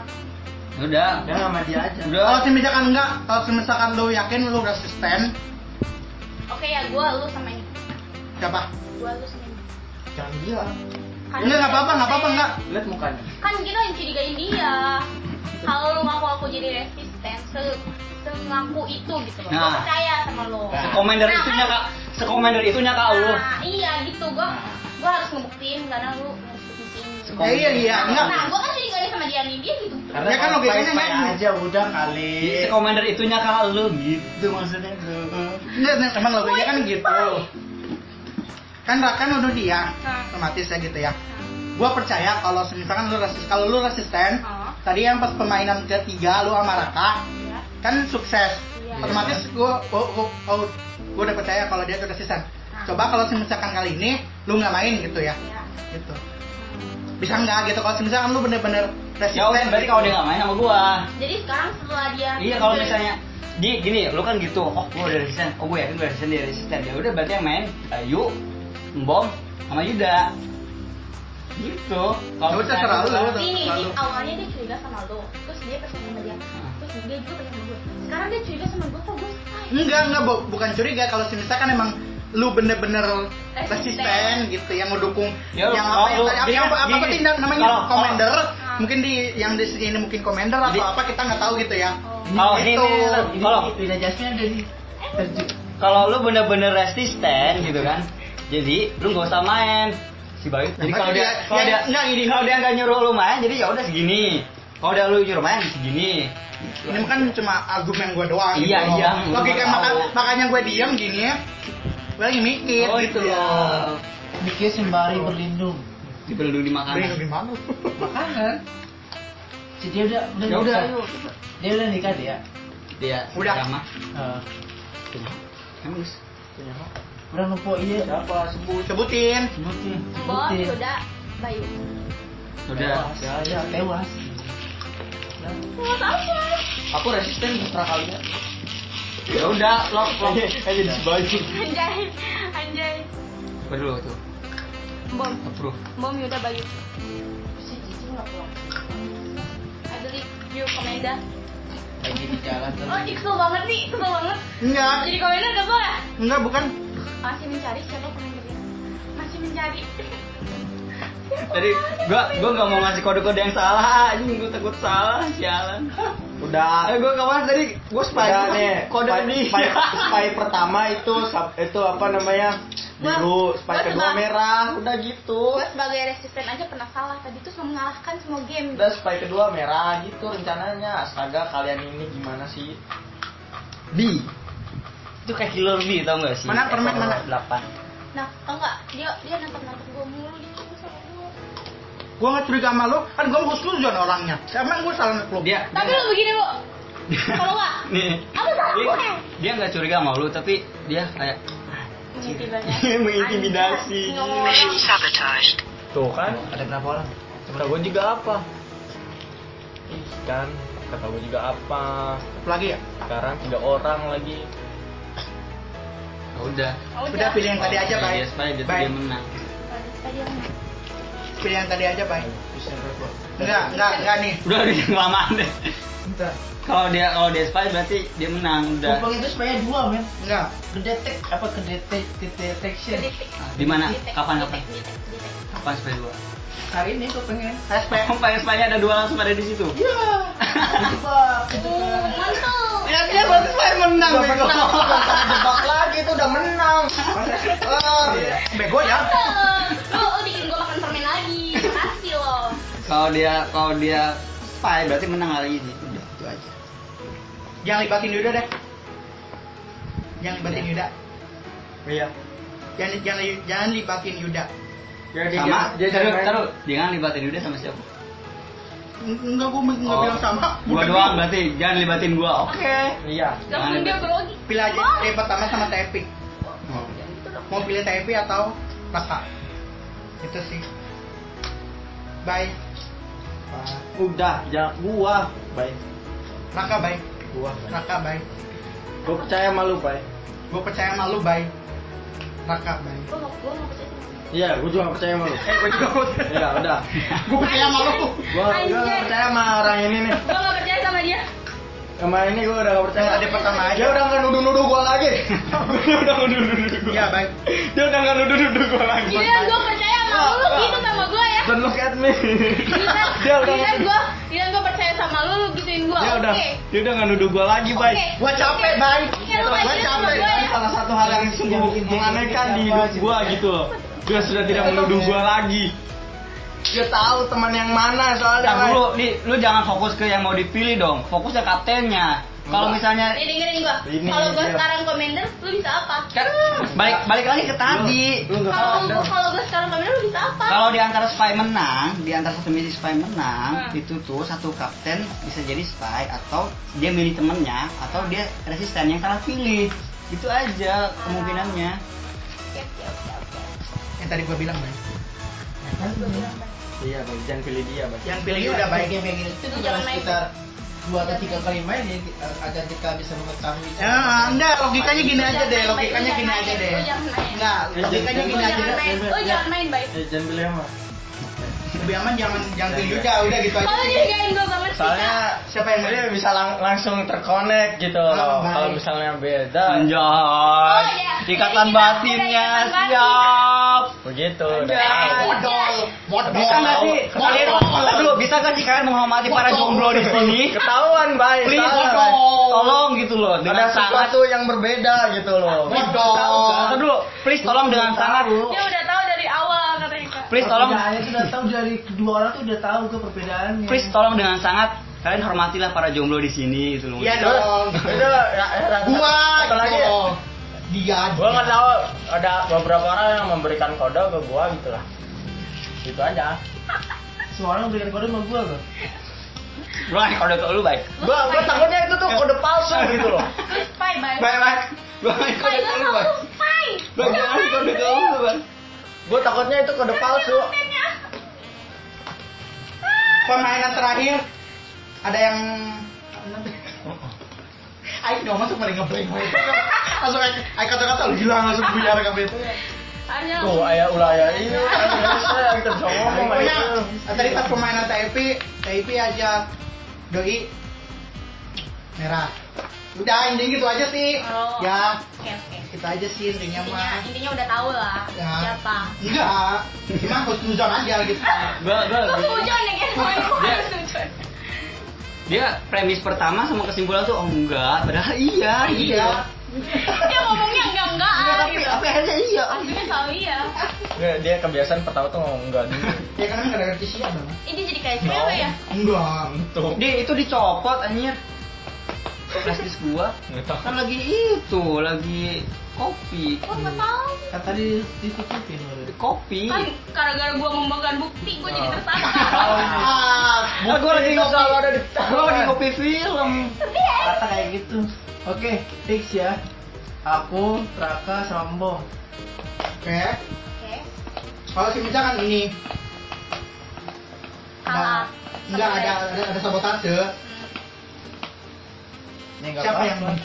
S3: Udah.
S1: Udah ya, sama dia aja.
S2: Kalau
S3: Udah.
S2: misalkan enggak, kalau misalkan lu yakin lu resisten,
S4: Oke ya, gua lu sama ini.
S2: siapa?
S4: Gua lu sama ini.
S1: Jangan bilang.
S4: Kan
S2: Enggak, enggak apa-apa, enggak apa-apa, enggak.
S1: Lihat mukanya.
S4: Kan kita yang curigain dia. Kalau lu ngaku aku jadi resisten, se sengaku itu gitu loh. Gua
S3: Nah.
S4: percaya sama lo.
S3: Sekomender
S4: Nah,
S3: itunya
S4: kan-
S3: kak. Sekomender itunya kak lu.
S4: Nah, iya gitu gua gua harus ngebuktiin karena lu ngebuktiin.
S2: Ya, iya iya enggak.
S4: Nah, gua kan tadi gak ada sama dia nih, dia gitu.
S2: Ya
S1: Karena
S2: kan Iya,
S1: kalau
S2: logikanya
S1: baik-baik
S2: nggak-
S1: aja udah kali.
S3: Si komander Iya, itunya kalah lu gitu maksudnya tuh.
S2: Enggak, enggak, emang logikanya kan gitu. Kan Rakan udah dia, otomatis ya gitu ya. Gua percaya kalau misalkan lu resisten, kalau lu resisten,
S4: Oh.
S2: tadi yang pas permainan ketiga lu sama Raka,
S4: Iya.
S2: kan sukses
S4: Iya.
S2: otomatis gue oh, oh, oh, gue udah percaya kalau dia tuh udah season coba kalau misalkan kali ini lu nggak main gitu ya
S4: Iya.
S2: gitu bisa nggak gitu kalau misalkan lu bener-bener resisten
S3: Ya oke, berarti
S2: gitu.
S3: kalau dia nggak main sama gua.
S4: Jadi sekarang setelah dia
S3: Iya kalau misalnya di gini, lu kan gitu. Oh, gua udah resisten. Oh, gua yakin gua resisten, dia resisten. Ya udah berarti yang main Ayu, Mbom, sama Yuda. Gitu.
S2: Ya udah, terserah lu,
S3: misalnya-
S2: lu.
S4: ini
S2: Lalu.
S4: ini awalnya dia curiga sama lo, terus dia percaya sama dia, terus dia juga percaya sama gue. Sekarang dia curiga sama gue, kok gue say?
S2: enggak enggak Bu. bukan curiga kalau misalkan emang lu bener-bener
S4: Resisten.
S2: resisten gitu yang ngedukung
S3: Ya,
S2: yang
S3: kalau
S2: apa yang
S3: lu-
S2: tadi apa,
S3: dia-
S2: apa, apa
S3: gini.
S2: tadi namanya
S3: Kalau-
S2: commander
S4: kalau-
S2: mungkin di yang di sini ini mungkin commander atau
S3: Jadi-
S2: apa kita nggak tahu gitu ya
S4: Oh.
S3: Kalau ini,
S2: Gitu.
S3: ini,
S1: Oh, Ini
S3: kalau
S1: tidak jasnya dari
S4: Eh,
S1: terju-
S3: kalau lu bener-bener resisten gitu kan. Jadi lu nggak usah main. Si Bayu. Jadi kalau dia
S2: Makanya
S3: kalau
S2: ya,
S3: dia
S2: enggak, gini.
S3: kalau dia nggak nyuruh lu main, jadi ya udah segini. Kalau udah lu nyuruh main segini.
S2: ini kan cuma argumen gue doang
S3: Iya,
S2: gitu loh.
S3: iya, gua
S2: logika
S3: tahu.
S2: maka, makanya gue diam gini ya gue lagi mikir gitu
S3: iya.
S2: loh
S1: Mikir sembari berlindung.
S3: Dibelung
S2: Beri
S3: di makanan.
S2: gimana
S1: Makanan. Jadi dia udah udah
S3: Ya udah.
S1: nikah. Dia udah nikah dia.
S2: Iya,
S3: Dia
S2: Udah.
S3: sama.
S1: Eh,
S3: Emang Gus?
S1: udah lupa iya.
S3: Siapa? Sebut.
S2: sebutin
S3: Sebutin.
S4: Mbok,
S1: Iya.
S4: Yoda, Bayu.
S3: Udah.
S1: Tewas. Ya, tewas.
S4: Nggak tahu ya.
S3: Aku resisten terserah kalian. Ya udah, lock lock.
S7: Iya,
S3: Iya. Aja di baju.
S4: *laughs* Anjay, anjay.
S3: Waduh tuh.
S4: Mbom,
S3: Approve.
S4: Mbom, Yoda, Bayu. Si Cici nggak pulang. I believe you, Komenda.
S1: Lagi di jalan
S4: Oh, ini kesel banget nih, kesel banget.
S2: enggak
S4: Jadi Komenda kesel ya?
S2: enggak bukan
S4: Masih mencari siapa Komendernya. Masih mencari.
S3: Tadi gua gua nggak mau ngasih kode-kode yang salah, anjing gua takut salah, sialan.
S7: Udah.
S3: Eh gua kawan tadi gua
S7: Udah
S3: spy
S7: nih.
S3: kode
S7: spy,
S3: tadi. *laughs*
S7: spy, spy pertama itu sub- itu apa namanya?
S3: Nah,
S4: Wah,
S7: Biru, spy
S4: wah,
S7: kedua
S4: tebak.
S7: merah, udah gitu.
S4: Gue sebagai resisten aja pernah salah. Tadi tuh selalu mengalahkan semua game.
S7: Udah spy kedua merah gitu rencananya. Astaga, kalian ini gimana sih?
S3: B. Itu kayak killer B tau gak sih?
S2: Mana permen, mana?
S3: 8.
S4: Nah, tau nggak? Dia dia nangkep-nangkep gue mulu gitu sama gue.
S2: gue nggak curiga sama lo kan gue husnuzon orangnya emang gue salah ngeklub
S3: Dia
S4: Tapi
S3: *laughs*
S4: lo begini, Bu. Kalau nggak,
S3: nih.
S4: apa salah
S3: Dia,
S4: gue?
S3: dia nggak curiga sama lu tapi dia kayak
S4: Mengintimidasi.
S3: Mengintimidasi.
S4: Anjay, ngomong
S5: Mission
S4: orang.
S5: sabotaged.
S7: Tuh kan,
S1: Ada berapa orang?
S7: kata gue juga apa? Ih, kan kata gue juga apa?
S2: Satu lagi ya
S7: Sekarang tiga orang lagi.
S3: "Ah, udah.
S4: Oh,
S2: udah pilih yang tadi aja
S3: Dia
S2: baik
S3: spy Iya, dia, dia
S2: baik
S3: menang.
S4: Tadi yang
S2: pilih yang tadi aja baik enggak enggak enggak nih
S3: Udah *laughs* udah kelamaan deh.
S1: Bentar.
S3: Kalau dia kalau dia spy berarti dia menang udah.
S1: Kupang itu supaya dua men.
S2: enggak
S1: Kedetek apa kedetek kedetection.
S4: detik.
S3: Ah, Di mana?
S4: Detek,
S3: Kapan kapan?
S4: detek, detek, detek.
S3: Kapan spy dua?
S1: Hari ini gue pengen.
S2: SP
S3: *laughs* Kapan spy-nya ada dua langsung ada di situ.
S1: Iya. Kejebak,
S4: Oh,
S1: kejebak.
S4: mantul.
S3: Ya dia berarti spy menang bego.
S7: Tebak lagi itu udah menang.
S2: oh,
S1: Iya.
S2: bego ya
S4: Mantul. Lo lo bikin gue makan oh, permen lagi. Makasih lo.
S3: Kalau dia kalau dia spy berarti menang kali ini. Udah itu aja.
S2: jangan libatin Yuda deh jangan libatin Yuda
S7: Iya.
S2: jangan jangan jangan libatin Yuda
S3: sama
S7: Ya, dia
S3: dia taruh,
S7: jangan-
S3: taruh. Dia kan libatin udah sama siapa?
S2: enggak gue enggak
S3: Oh.
S2: bilang sama
S3: Gua doang berarti jangan libatin gua. Oke.
S7: Iya.
S4: Langsung dia grogi.
S2: pilih aja
S4: Wah.
S2: yang pertama sama Tepi mau pilih Tepi atau Raka itu sih bye
S7: Udah, jangan gua. Baik.
S2: Raka bye
S7: Gua.
S2: Raka bye
S7: Gua percaya sama lu, Bay.
S2: gue percaya sama lu bye Raka bye
S4: Gue mau gue mau percaya sama
S7: Iya, gua juga percaya
S3: *laughs*
S7: sama lu.
S2: eh gue juga
S7: Iya, udah.
S2: gue percaya sama lu
S7: Gua gua nggak percaya sama orang ini nih.
S4: Gue gak percaya sama dia.
S7: Sama ini gua udah gak percaya.
S2: Yang ada pertama aja.
S7: Dia udah nggak nuduh-nuduh gua
S3: *laughs*
S7: lagi. Dia udah nuduh-nuduh gua.
S2: iya bye
S7: Dia udah nggak nuduh-nuduh gua lagi.
S4: Giliran gue percaya sama lu, lu gitu sama gue ya.
S7: Don't look at me.
S4: Giliran
S7: Dia udah
S4: giliran gue, giliran gue percaya sama lu, lu gituin gue.
S3: Ya
S7: dia udah
S4: Oke.
S7: dia udah nggak nuduh gua lagi, Bay.
S4: Oke.
S2: gue capek bye
S4: Ya, lu
S2: gue
S4: lanjutin sama
S2: capek
S4: gue
S7: Ini
S4: ya.
S7: salah satu hal yang sungguh menganehkan di hidup gua gitu loh. Dia sudah tidak menuduh gua lagi.
S2: dia tahu teman yang mana soalnya
S3: Ntar dulu, Li, lu jangan fokus ke yang mau dipilih dong. Fokusnya kaptennya. Kalau misalnya
S4: Nih dengerin gua.
S7: Ini,
S4: Kalau gua
S7: iya.
S4: sekarang commander, lu bisa apa?
S3: kan balik balik lagi ke tadi.
S7: Lu nggak
S4: Kalau
S7: sadar.
S4: kalau gua sekarang commander, lu bisa apa?
S3: Kalau di antara nah. spy menang, di antara satu misi spy menang,
S4: Hmm.
S3: itu tuh satu kapten bisa jadi spy atau dia milih temennya atau dia resisten yang salah pilih. Itu aja kemungkinannya.
S4: Siap, siap, siap, siap.
S2: yang tadi gua bilang Bay.
S7: Iya, Bang. Jangan pilih dia, Bang.
S2: yang
S1: Iya,
S2: pilih udah baik
S1: game yang itu
S4: Itu
S1: tuh
S4: jangan
S1: jangan
S4: main.
S1: sekitar dua atau tiga kali main ya eh, agar kita bisa mengetahui
S2: ya enggak logikanya gini aja deh
S4: Jangan main,
S2: logikanya
S4: jangan
S2: gini
S4: main,
S2: aja deh
S4: lu jangan main.
S2: enggak logikanya
S4: Lu
S2: gini aja
S4: jangan main, lu jangan main baik.
S7: Eh, jangan pilih sama.
S2: lebih aman jangan jangan pilih juga udah gitu aja
S4: Kalau dijagain gua sama
S7: Soalnya
S2: siapa yang
S7: dia bisa lang- langsung terkonek gitu
S2: Ah,
S7: loh.
S2: baik.
S7: Kalau misalnya beda,
S3: Anjay.
S4: Oh, iya.
S3: Ikatan
S4: Jadi kita-
S3: batinnya
S4: kita ikatan batin.
S3: siap.
S7: begitu.
S3: Anjay. Bisa nggak sih kalian Ntar dulu bisa nggak sih kalian menghormati para jomblo di sini?
S7: Ketahuan, baik.
S3: Please,
S7: Salah, Bay.
S3: tolong gitu loh
S7: Ada
S3: dengan sangat.
S7: sesuatu yang berbeda gitu loh.
S3: Tolong dulu, please tolong dengan sangat.
S4: Dia udah tahu dari awal katanya Kak.
S3: Please tolong,
S1: perbedaannya tuh udah tahu dari kedua orang tuh udah tahu ke perbedaannya
S3: please tolong dengan sangat kalian hormatilah para jomblo di sini gitu loh. gitu.
S2: iya dong
S7: Itu ya, ya,
S2: gua gitu.
S7: satu lagi.
S2: dong. dia
S7: Gua nggak tahu ada beberapa orang yang memberikan kode ke gua gitu lah. Gitu aja.
S1: semua orang berikan kode sama gue loh
S3: Lu aneh kode ke lu baik.
S7: Gua gua takutnya itu tuh kode palsu gitu loh.
S4: Lu spy baik.
S3: Baik baik. Lu aneh
S4: Spy
S3: kode ke
S4: gua
S3: lu
S4: sama
S3: baik.
S4: lu spy.
S3: Lu aneh kode ke lu baik.
S7: Gua takutnya itu kode palsu.
S4: Kontennya.
S2: permainan terakhir ada yang Ayo dong masuk paling ngeblank Bay. Langsung Aik Aik kata-kata lu gila langsung biar kamu itu
S4: Hanya
S7: Tuh,
S3: ya.
S7: ayah ulaya
S3: Iya,
S7: ini. Saya hampir bisa ngomong Bay.
S2: Nah, Pokoknya tadi pas permainan TIP, TIP aja doi merah. Udah intinya gitu aja sih.
S4: Oh.
S2: Ya,
S4: Oke, oke.
S2: kita aja sih intinya
S4: Intinya,
S2: mah.
S4: intinya udah tahu lah
S2: Ya.
S4: siapa.
S2: Enggak, cuma khusnuzon aja *laughs* gitu.
S3: Gua gua
S4: Lu sujon ya guys, main
S2: Iya.
S4: gua
S3: Dia-
S4: sujon.
S3: dia premis pertama sama kesimpulan tuh oh enggak padahal iya gitu.
S2: Iya.
S4: Dia ngomongnya enggak
S2: Enggak,
S4: enggak
S2: tapi
S4: gitu.
S2: tapi akhirnya iya.
S4: Akhirnya tahu iya.
S7: Dia- Dia kebiasaan pertama tuh ngomong enggak dulu.
S2: Ya karena enggak ada revisi ya dong.
S4: Ini jadi kayak cewek ya.
S2: Enggak.
S7: Tuh.
S3: Di itu dicopot anjir. Flash disk gua
S7: Nggak tahu.
S3: kan lagi itu lagi kopi.
S4: Gua nggak tahu.
S1: kan tadi ditutupin loh
S3: Kopi.
S4: Kan gara-gara gua membagikan bukti, gua jadi
S7: Oh.
S4: tersangka.
S2: Ah,
S3: Gua lagi ngopi.
S7: Kalau ada di
S3: Gua lagi ngopi Oh, film.
S4: Sedih ya.
S1: kata kayak gitu oke fix ya aku Raka sama Mbong
S2: oke.
S4: Oke.
S2: Kalau si Mica kan ini Ah.
S4: Salah.
S2: enggak ada ada, ada sabotase.
S4: Hmm.
S1: ya, nggak
S2: Siapa
S1: apa-apa.
S2: yang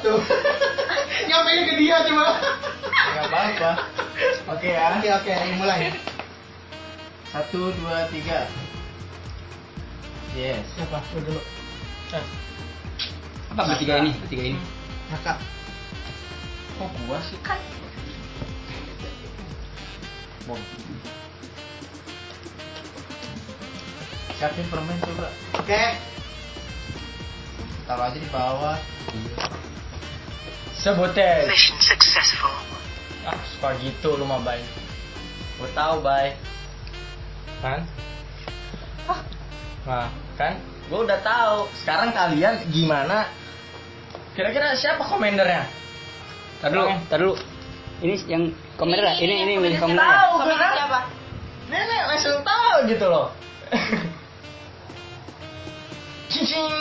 S2: *laughs* tuh? Nyampein ke dia cuma.
S1: nggak apa-apa oke ya
S2: Oke oke, ayo mulai.
S1: satu dua tiga
S7: Yes.
S2: Siapa? Lu dulu.
S3: Apa bertiga ini? Bertiga ini.
S2: Kakak.
S7: Kok gua sih?
S4: Kan
S7: Bom.
S1: siapin permen coba
S2: Oke.
S1: taruh aja di bawah
S7: Sebutin.
S5: Mission successful.
S7: Ah, suka gitu lu mah baik. Gua tahu baik. Kan? Nah, kan? Gua udah tahu. Sekarang kalian gimana? Kira-kira siapa komendernya?
S3: Tar dulu,
S7: Oke.
S3: tar dulu. Ini yang komentar ya? Ini ini yang milih komentar ya?
S7: Tahu,
S4: Komentar
S7: beneran.
S4: siapa?
S7: Nenek langsung tahu gitu loh. *laughs* Cing.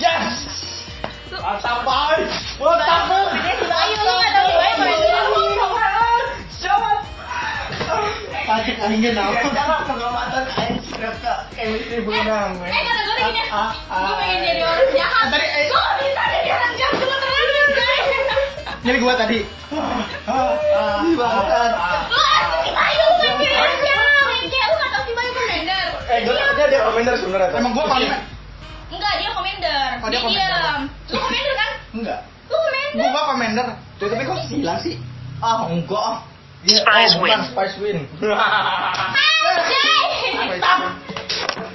S7: Yes. Mantap banget. Mantap banget.
S4: Ayo, lu nggak tahu baik, baik.
S7: Siapa?
S2: Pasti kalian
S7: Iya,
S2: kenapa?
S1: pengamatan anjing Raka
S7: gitu.
S1: chemistry benang
S4: Eh, kata gue gini,
S1: Ah, ah,
S4: gue pengen jadi orang jahat.
S2: Tadi, eh.
S4: Gue nggak bisa jadi orang jahat, gue terlalu baik.
S2: Jadi gua tadi.
S7: Ah,
S2: Ah.
S4: Lu asli si Bayu, lu pengen jadi orang jahat. Beke, lu nggak tahu si Bayu komander.
S7: Eh, gue takutnya dia komentar sebenarnya. Tuh.
S2: Emang gua paling
S4: Enggak, dia komander.
S2: Oh, dia
S4: Dia
S2: komander.
S4: diam. Lu komander kan?
S2: enggak.
S4: Lu komander.
S2: Gua komander. Tuh, tapi kok hilang sih? Ah, enggak. ah.
S7: Dia,
S5: Spice
S7: oh,
S5: win.
S7: bukan Spice Win.
S2: *laughs*
S4: Ah, Anjay.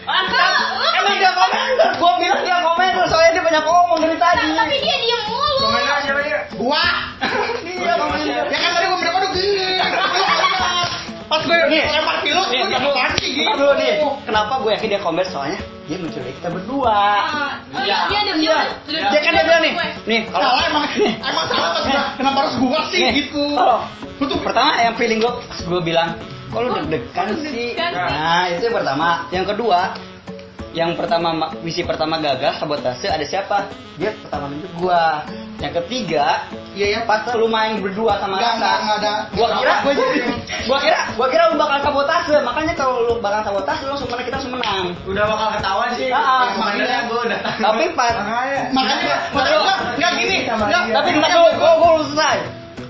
S4: Mantap. Lu
S7: Emang dia komentar. Gua bilang dia komentar soalnya dia banyak ngomong dari tadi.
S4: komander, tapi dia diem mulu.
S7: Komentar siapa dia?
S2: Gua.
S7: Dia komentar.
S2: Ya kan tadi gua bener-bener gini. Pas gue lempar pilu,
S3: Nih,
S7: Gue
S3: ntar dulu.
S7: apaan sih,
S3: Ntar
S7: gitu?
S3: dulu nih. Kenapa gue yakin dia combat soalnya dia menculik kita berdua.
S4: Ah, oh iya, dia ada- dia ada-
S3: Iya.
S4: dia-
S3: Dia kan
S4: dia
S3: dia bilang
S4: ada
S3: nih.
S4: gue.
S3: Nih, kalau
S7: salah emang emang salah pas gua kenapa harus gua sih
S3: Nih,
S7: gitu
S3: kalau-
S7: lu tuh
S3: pertama yang feeling gue gue bilang kok lu deg-degan sih
S4: deg-degan sih.
S3: nah itu yang pertama yang kedua yang pertama ma- misi pertama gagal sabotase ada siapa dia pertama nunjuk gua yang ketiga
S2: Iya ya,
S3: pas lu main berdua sama
S2: Nggak, nggak, nggak ada.
S3: gua kira
S2: Nggak ada.
S3: gua kira gua kira lu bakal sabotase makanya kalau lu bakal sabotase lu langsung menang kita langsung menang
S1: Udah bakal ketahuan sih.
S3: Ah, ah,
S1: Sebenarnya
S3: makanya.
S1: gue udah. Nah,
S3: tapi pas
S2: makanya makanya gua- nggak gini
S1: Sama
S2: nggak
S1: dia.
S3: tapi bentar dulu gua gua belum selesai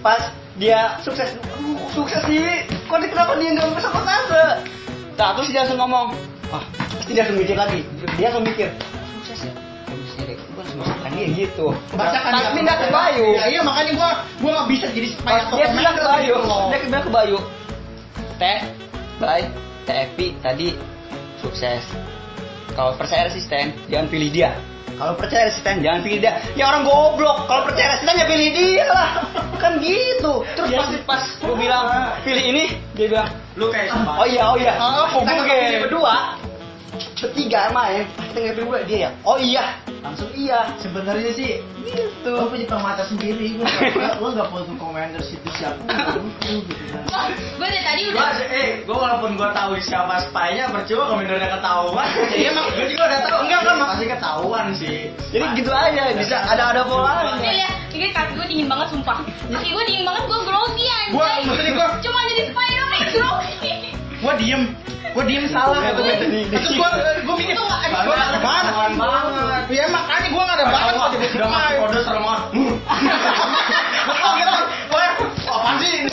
S3: pas dia sukses aduh, sukses sih kok dia kenapa dia nggak bisa sabotase nah terus dia langsung ngomong wah pasti dia langsung mikir lagi dia langsung mikir sukses ya Gua harus nyerek. Gua harus memaksakan dia gitu
S2: Bacakan dia.
S3: tapi nggak kebayu
S2: Ya, iya makanya gua gua nggak bisa jadi
S3: Pas
S2: supaya
S3: dia bilang ke Bayu,
S2: gitu loh.
S3: dia bilang ke Bayu, Teh, Bay, Teh Epi tadi sukses. Kalau percaya resisten, jangan pilih dia. Kalau percaya resisten, jangan pilih dia. Ya orang goblok. Kalau percaya resisten, ya pilih dia lah. *laughs* Kan gitu. Terus pas Ah. pas gue bilang pilih ini, dia bilang,
S1: Lu kayak sama.
S3: oh iya oh iya.
S2: Ah,
S3: Kita
S2: hubungan.
S3: nggak pilih berdua. Ketiga main, ya. kita nggak pilih berdua dia ya. Oh iya, langsung iya.
S1: Sebenarnya sih
S3: Gitu.
S1: gue punya permata sendiri. Gue nggak gue nggak butuh komentar situ siapa. nggak butuh, gitu kan.
S4: Wah, gue dari tadi
S1: Gua,
S4: udah
S1: eh, gua walaupun gua tahu siapa spy-nya, percuma komentarnya ketahuan. Iya, emang gua juga udah tahu. Enggak, enggak, pasti ketahuan sih.
S3: Jadi gitu aja, bisa ada ada pola.
S4: Nih ya, ini kaki gue dingin banget sumpah. Kaki gue dingin banget, gue grogi anjay.
S2: Gua maksudnya gua
S4: Cuma jadi spider doang yang grogi.
S2: gua diem gua diem salah gitu terus gua gua mikir
S4: Itu nggak
S2: gua nggak ada bahan
S1: Bahan banget.
S2: ya makanya gua nggak ada bahan
S1: Ketahuan,
S2: buat jadi
S1: udah masuk
S2: pemain.
S1: kode serem banget.
S2: *laughs* Gua gitu, wah, apaan sih ini?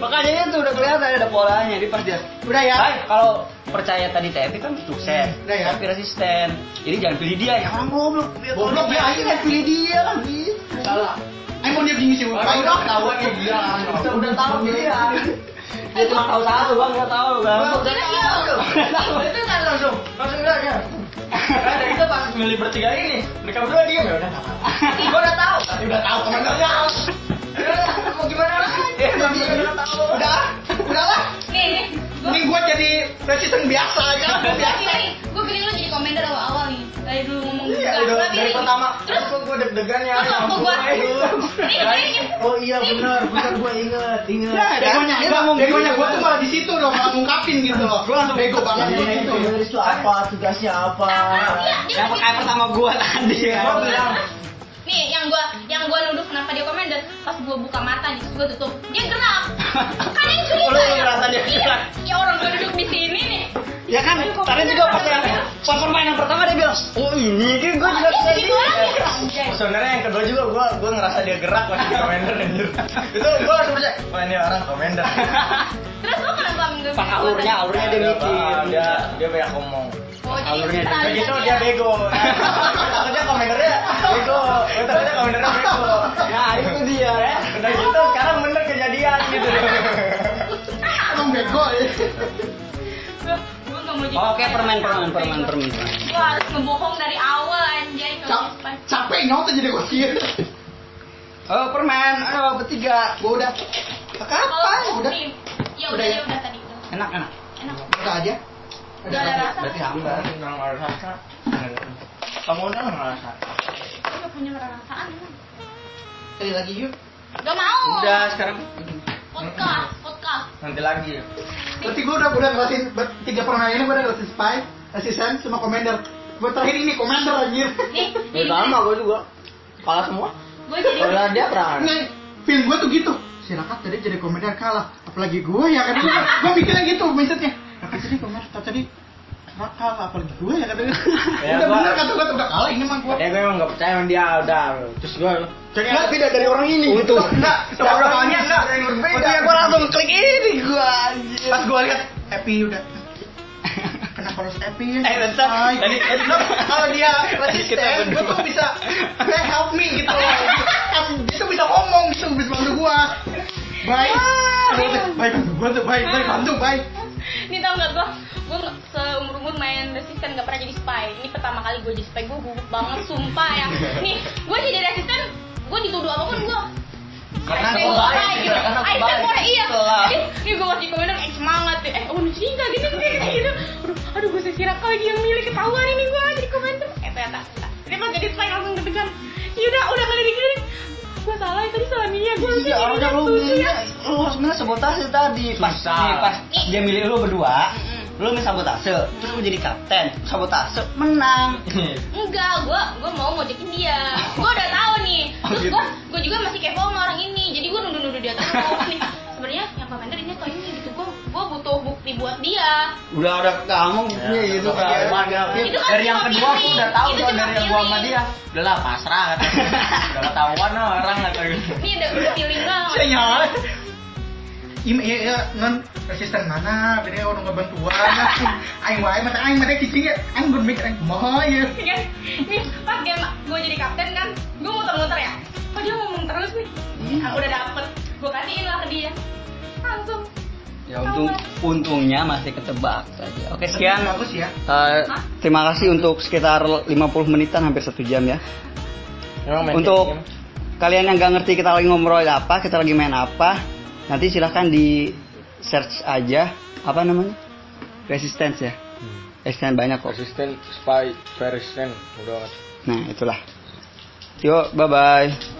S3: Makanya itu udah kelihatan ada polanya di pas dia.
S2: udah ya
S3: Hai, kalau percaya tadi TFP kan sukses,
S2: Udah ya.
S3: tapi resisten. Jadi jangan pilih dia ya orang goblok. Dia
S2: Goblok ya.
S3: akhirnya pilih dia kan gitu.
S2: salah emang dia gini sih
S1: Orang
S2: Ayo
S1: udah
S2: dong.
S1: ketahuan ya dia.
S3: Udah, udah tahu dia. Dia cuma tahu satu bang, nggak tahu kan.
S4: Udah iya.
S1: Itu kan langsung, langsung udah *laughs* ya. Nah, dari itu pas milih bertiga ini, mereka berdua diem ya udah nggak apa-apa. Gua udah tahu.
S4: iya.
S2: udah tahu kemana
S1: Udah tahu. Udah, Mau gimana lagi?
S2: Iya,
S1: Ya, emang gua udah tahu.
S2: udah udahlah
S4: Nih, nih. Gue
S2: mending gua jadi resisten biasa aja
S4: Iya,
S2: gua biasa
S4: gini, gue gini lo jadi komentar awal-awal nih. Dari dulu ngomong
S1: Iya,
S4: juga.
S1: udah
S4: Gua
S1: dari
S4: pilih.
S1: pertama.
S4: Terus
S1: Terus gua deg-degan ya.
S4: Terus waktu gua-
S1: ampun, aduh.
S4: Ini kayaknya-
S1: Oh iya benar, benar gua inget, inget.
S2: Ya,
S3: Begonya,
S2: ya,
S3: gua mau
S2: begonya
S3: gitu.
S2: gua tuh malah di situ dong, malah ngungkapin gitu loh.
S3: Gua langsung
S2: bego banget
S1: Iya,
S2: gua gitu.
S1: Penulis itu apa? Tugasnya apa?
S4: Ah, iya, dia
S3: Yang
S4: lebih-
S3: kayak pertama gua tadi. ya.
S1: Gua bilang,
S4: Nih, yang gue yang gua nuduh kenapa dia komentar pas gue buka mata nih, terus gue tutup, dia gerak. Kan yang curiga.
S3: Lu- lu
S4: ya.
S3: ngerasa dia
S4: Iya.
S3: gerak.
S4: Ya orang gue duduk di sini nih.
S3: Ya kan, tadi juga pas pas permainan pertama dia bilang, oh ini kan gua juga
S4: Dia
S3: bisa
S4: jadi
S3: ini.
S4: orang yang gerak. Anjay.
S1: sebenarnya yang kedua juga gua gua ngerasa dia gerak waktu komander anjir. Itu gua langsung percaya, wah ini orang komander.
S4: Terus lo kenapa nggak
S3: Pas alurnya, alurnya dia mikir.
S1: Dia dia banyak ngomong.
S4: Oh, jadi
S3: Alurnya dia-
S4: peralihan
S1: Begitu dia bego. Takutnya komentarnya bego. Takutnya komentarnya bego.
S3: Nah itu dia.
S1: Udah gitu sekarang bener kejadian gitu.
S2: Emang bego ya.
S4: Gua- gua nggak mau jadi
S3: Oke,
S4: komentar.
S3: permen, permen, permen, permen.
S4: Gua harus ngebohong dari awal anjay. nggak
S2: Cap-
S4: apa-apa.
S2: capek nyontek jadi gua sih.
S3: Oh, permen, aduh, bertiga.
S2: Gua udah kapan?
S4: Kalau-
S2: Udah,
S4: nih, Ya
S2: Udah
S4: udah,
S2: ya?
S4: ya udah tadi. udah.
S3: Enak, enak.
S4: Enak.
S2: udah aja.
S4: Udah ada rasa.
S3: Berarti hambar.
S1: Enggak ngerasa. Kamu udah ngerasa.
S4: Gua nggak punya perasaan. emang.
S2: Sekali lagi yuk.
S4: Nggak mau.
S1: Udah sekarang
S4: Podcast, podcast.
S1: nanti lagi.
S2: Berarti gua udah udah ngelasin ber- tiga permainan gua udah ngelasin spy, resisten sama commander. Gua terakhir ini commander anjir.
S4: Nih,
S3: Ya sama gue juga. Kalah semua.
S4: gue jadi
S3: Kalah dia perang.
S2: Nah, film gua tuh gitu. Silakan tadi jadi commander kalah. Apalagi gua ya kan gua, gua mikirnya gitu mindsetnya. Tapi tadi commander tadi kalah apalagi gua ya katanya.
S1: Ya,
S2: udah
S1: gua-
S2: bener kata gua udah kalah ini mah gua.
S1: Ya gue emang gak percaya sama dia udah. Terus gue
S2: Nggak,
S1: tidak dari orang ini. Untung. Enggak,
S2: Sama orang ini,
S1: enggak.
S2: ada yang berbeda.
S1: Untungnya gue langsung klik ini gue anjir.
S2: Pas gua lihat happy udah. *laughs* Kenapa harus happy ya?
S3: Eh, bentar.
S2: Ay,
S3: Tadi-
S2: gitu. kalau dia
S3: Kita
S2: resisten,
S3: berdua.
S2: gue tuh Eh, bisa hey, help me gitu loh. Em, Dia tuh bisa ngomong gitu, bisa bantu gua. Baik, baik, gua tuh baik, baik, bantu, baik.
S4: Ini tau gak gue, gue seumur umur main resisten gak pernah jadi spy. Ini pertama kali gue jadi spy, gue gugup banget, sumpah ya. Nih, gue jadi resisten, gue dituduh apapun gue
S3: Karena
S4: Ayo,
S3: kebalik,
S4: ayo, gitu.
S3: karena
S4: Ayo,
S3: kebalik.
S4: tempora, iya.
S3: Telah.
S4: Jadi, ini gue masih komentar, eh semangat deh. Eh, oh, lucu enggak gini, gini, gini, gitu. Aduh, aduh, gue sesi raka lagi yang milih ketahuan ini gue jadi komentar. Eh, ternyata, enggak. Dia mah jadi spike langsung deg-degan. Ya udah, udah ngelirik-ngelirik. Gue salah, tadi salah ya, Nia. Gue
S3: Iya, harusnya lu
S4: ya."
S3: milih, lu harus milih sabotase tadi. Pas,
S7: Susah.
S3: di- pas dia milih lu berdua,
S4: Mm-mm.
S3: lu milih sabotase, terus lu jadi kapten, sabotase, menang.
S4: Enggak, gue gue mau mojokin dia. Gue udah tahu nih. Terus
S3: gitu.
S4: gue gue juga masih kepo sama orang ini. Jadi gue nundur-nundur dia terus mau nih. Sebenarnya yang komentar ini atau ini gitu. Gue gue butuh bukti buat dia.
S3: Udah ada kamu
S7: Iya
S3: ya, gitu
S7: kan.
S3: kan.
S4: Itu kan
S7: dari yang
S4: cuma
S7: kedua aku
S4: feeling.
S7: udah tahu
S4: Itu
S7: tuh
S4: cuma
S7: dari yang gua sama
S4: feeling.
S7: dia. Udah lah pasrah kata. Udah ketahuan lah orang kata gitu.
S4: Ini ada udah feeling banget.
S2: Iya,
S7: Saya nyala.
S2: Im iya iya non resisten mana beda orang kebantuan *laughs* aing wae mata aing mata cicing ya aing gue mikir aing kumaha ya
S4: kan nih pas game gue jadi kapten kan gue muter-muter ya kok dia ngomong terus nih aku udah dapet gue kasihin lah ke dia langsung
S3: Ya untung, untungnya masih ketebak saja. Oke, sekian.
S2: bagus ya
S3: Eh, terima kasih untuk sekitar 50 menitan hampir satu jam ya.
S7: Emang main
S3: Untuk
S7: kayak gini?
S3: kalian yang gak ngerti kita lagi ngobrol apa, kita lagi main apa, nanti silahkan di search aja apa namanya resistance ya.
S7: Hmm.
S3: Resistance banyak kok.
S7: Resisten spy resisten udah
S3: Nah itulah. Yuk, bye bye.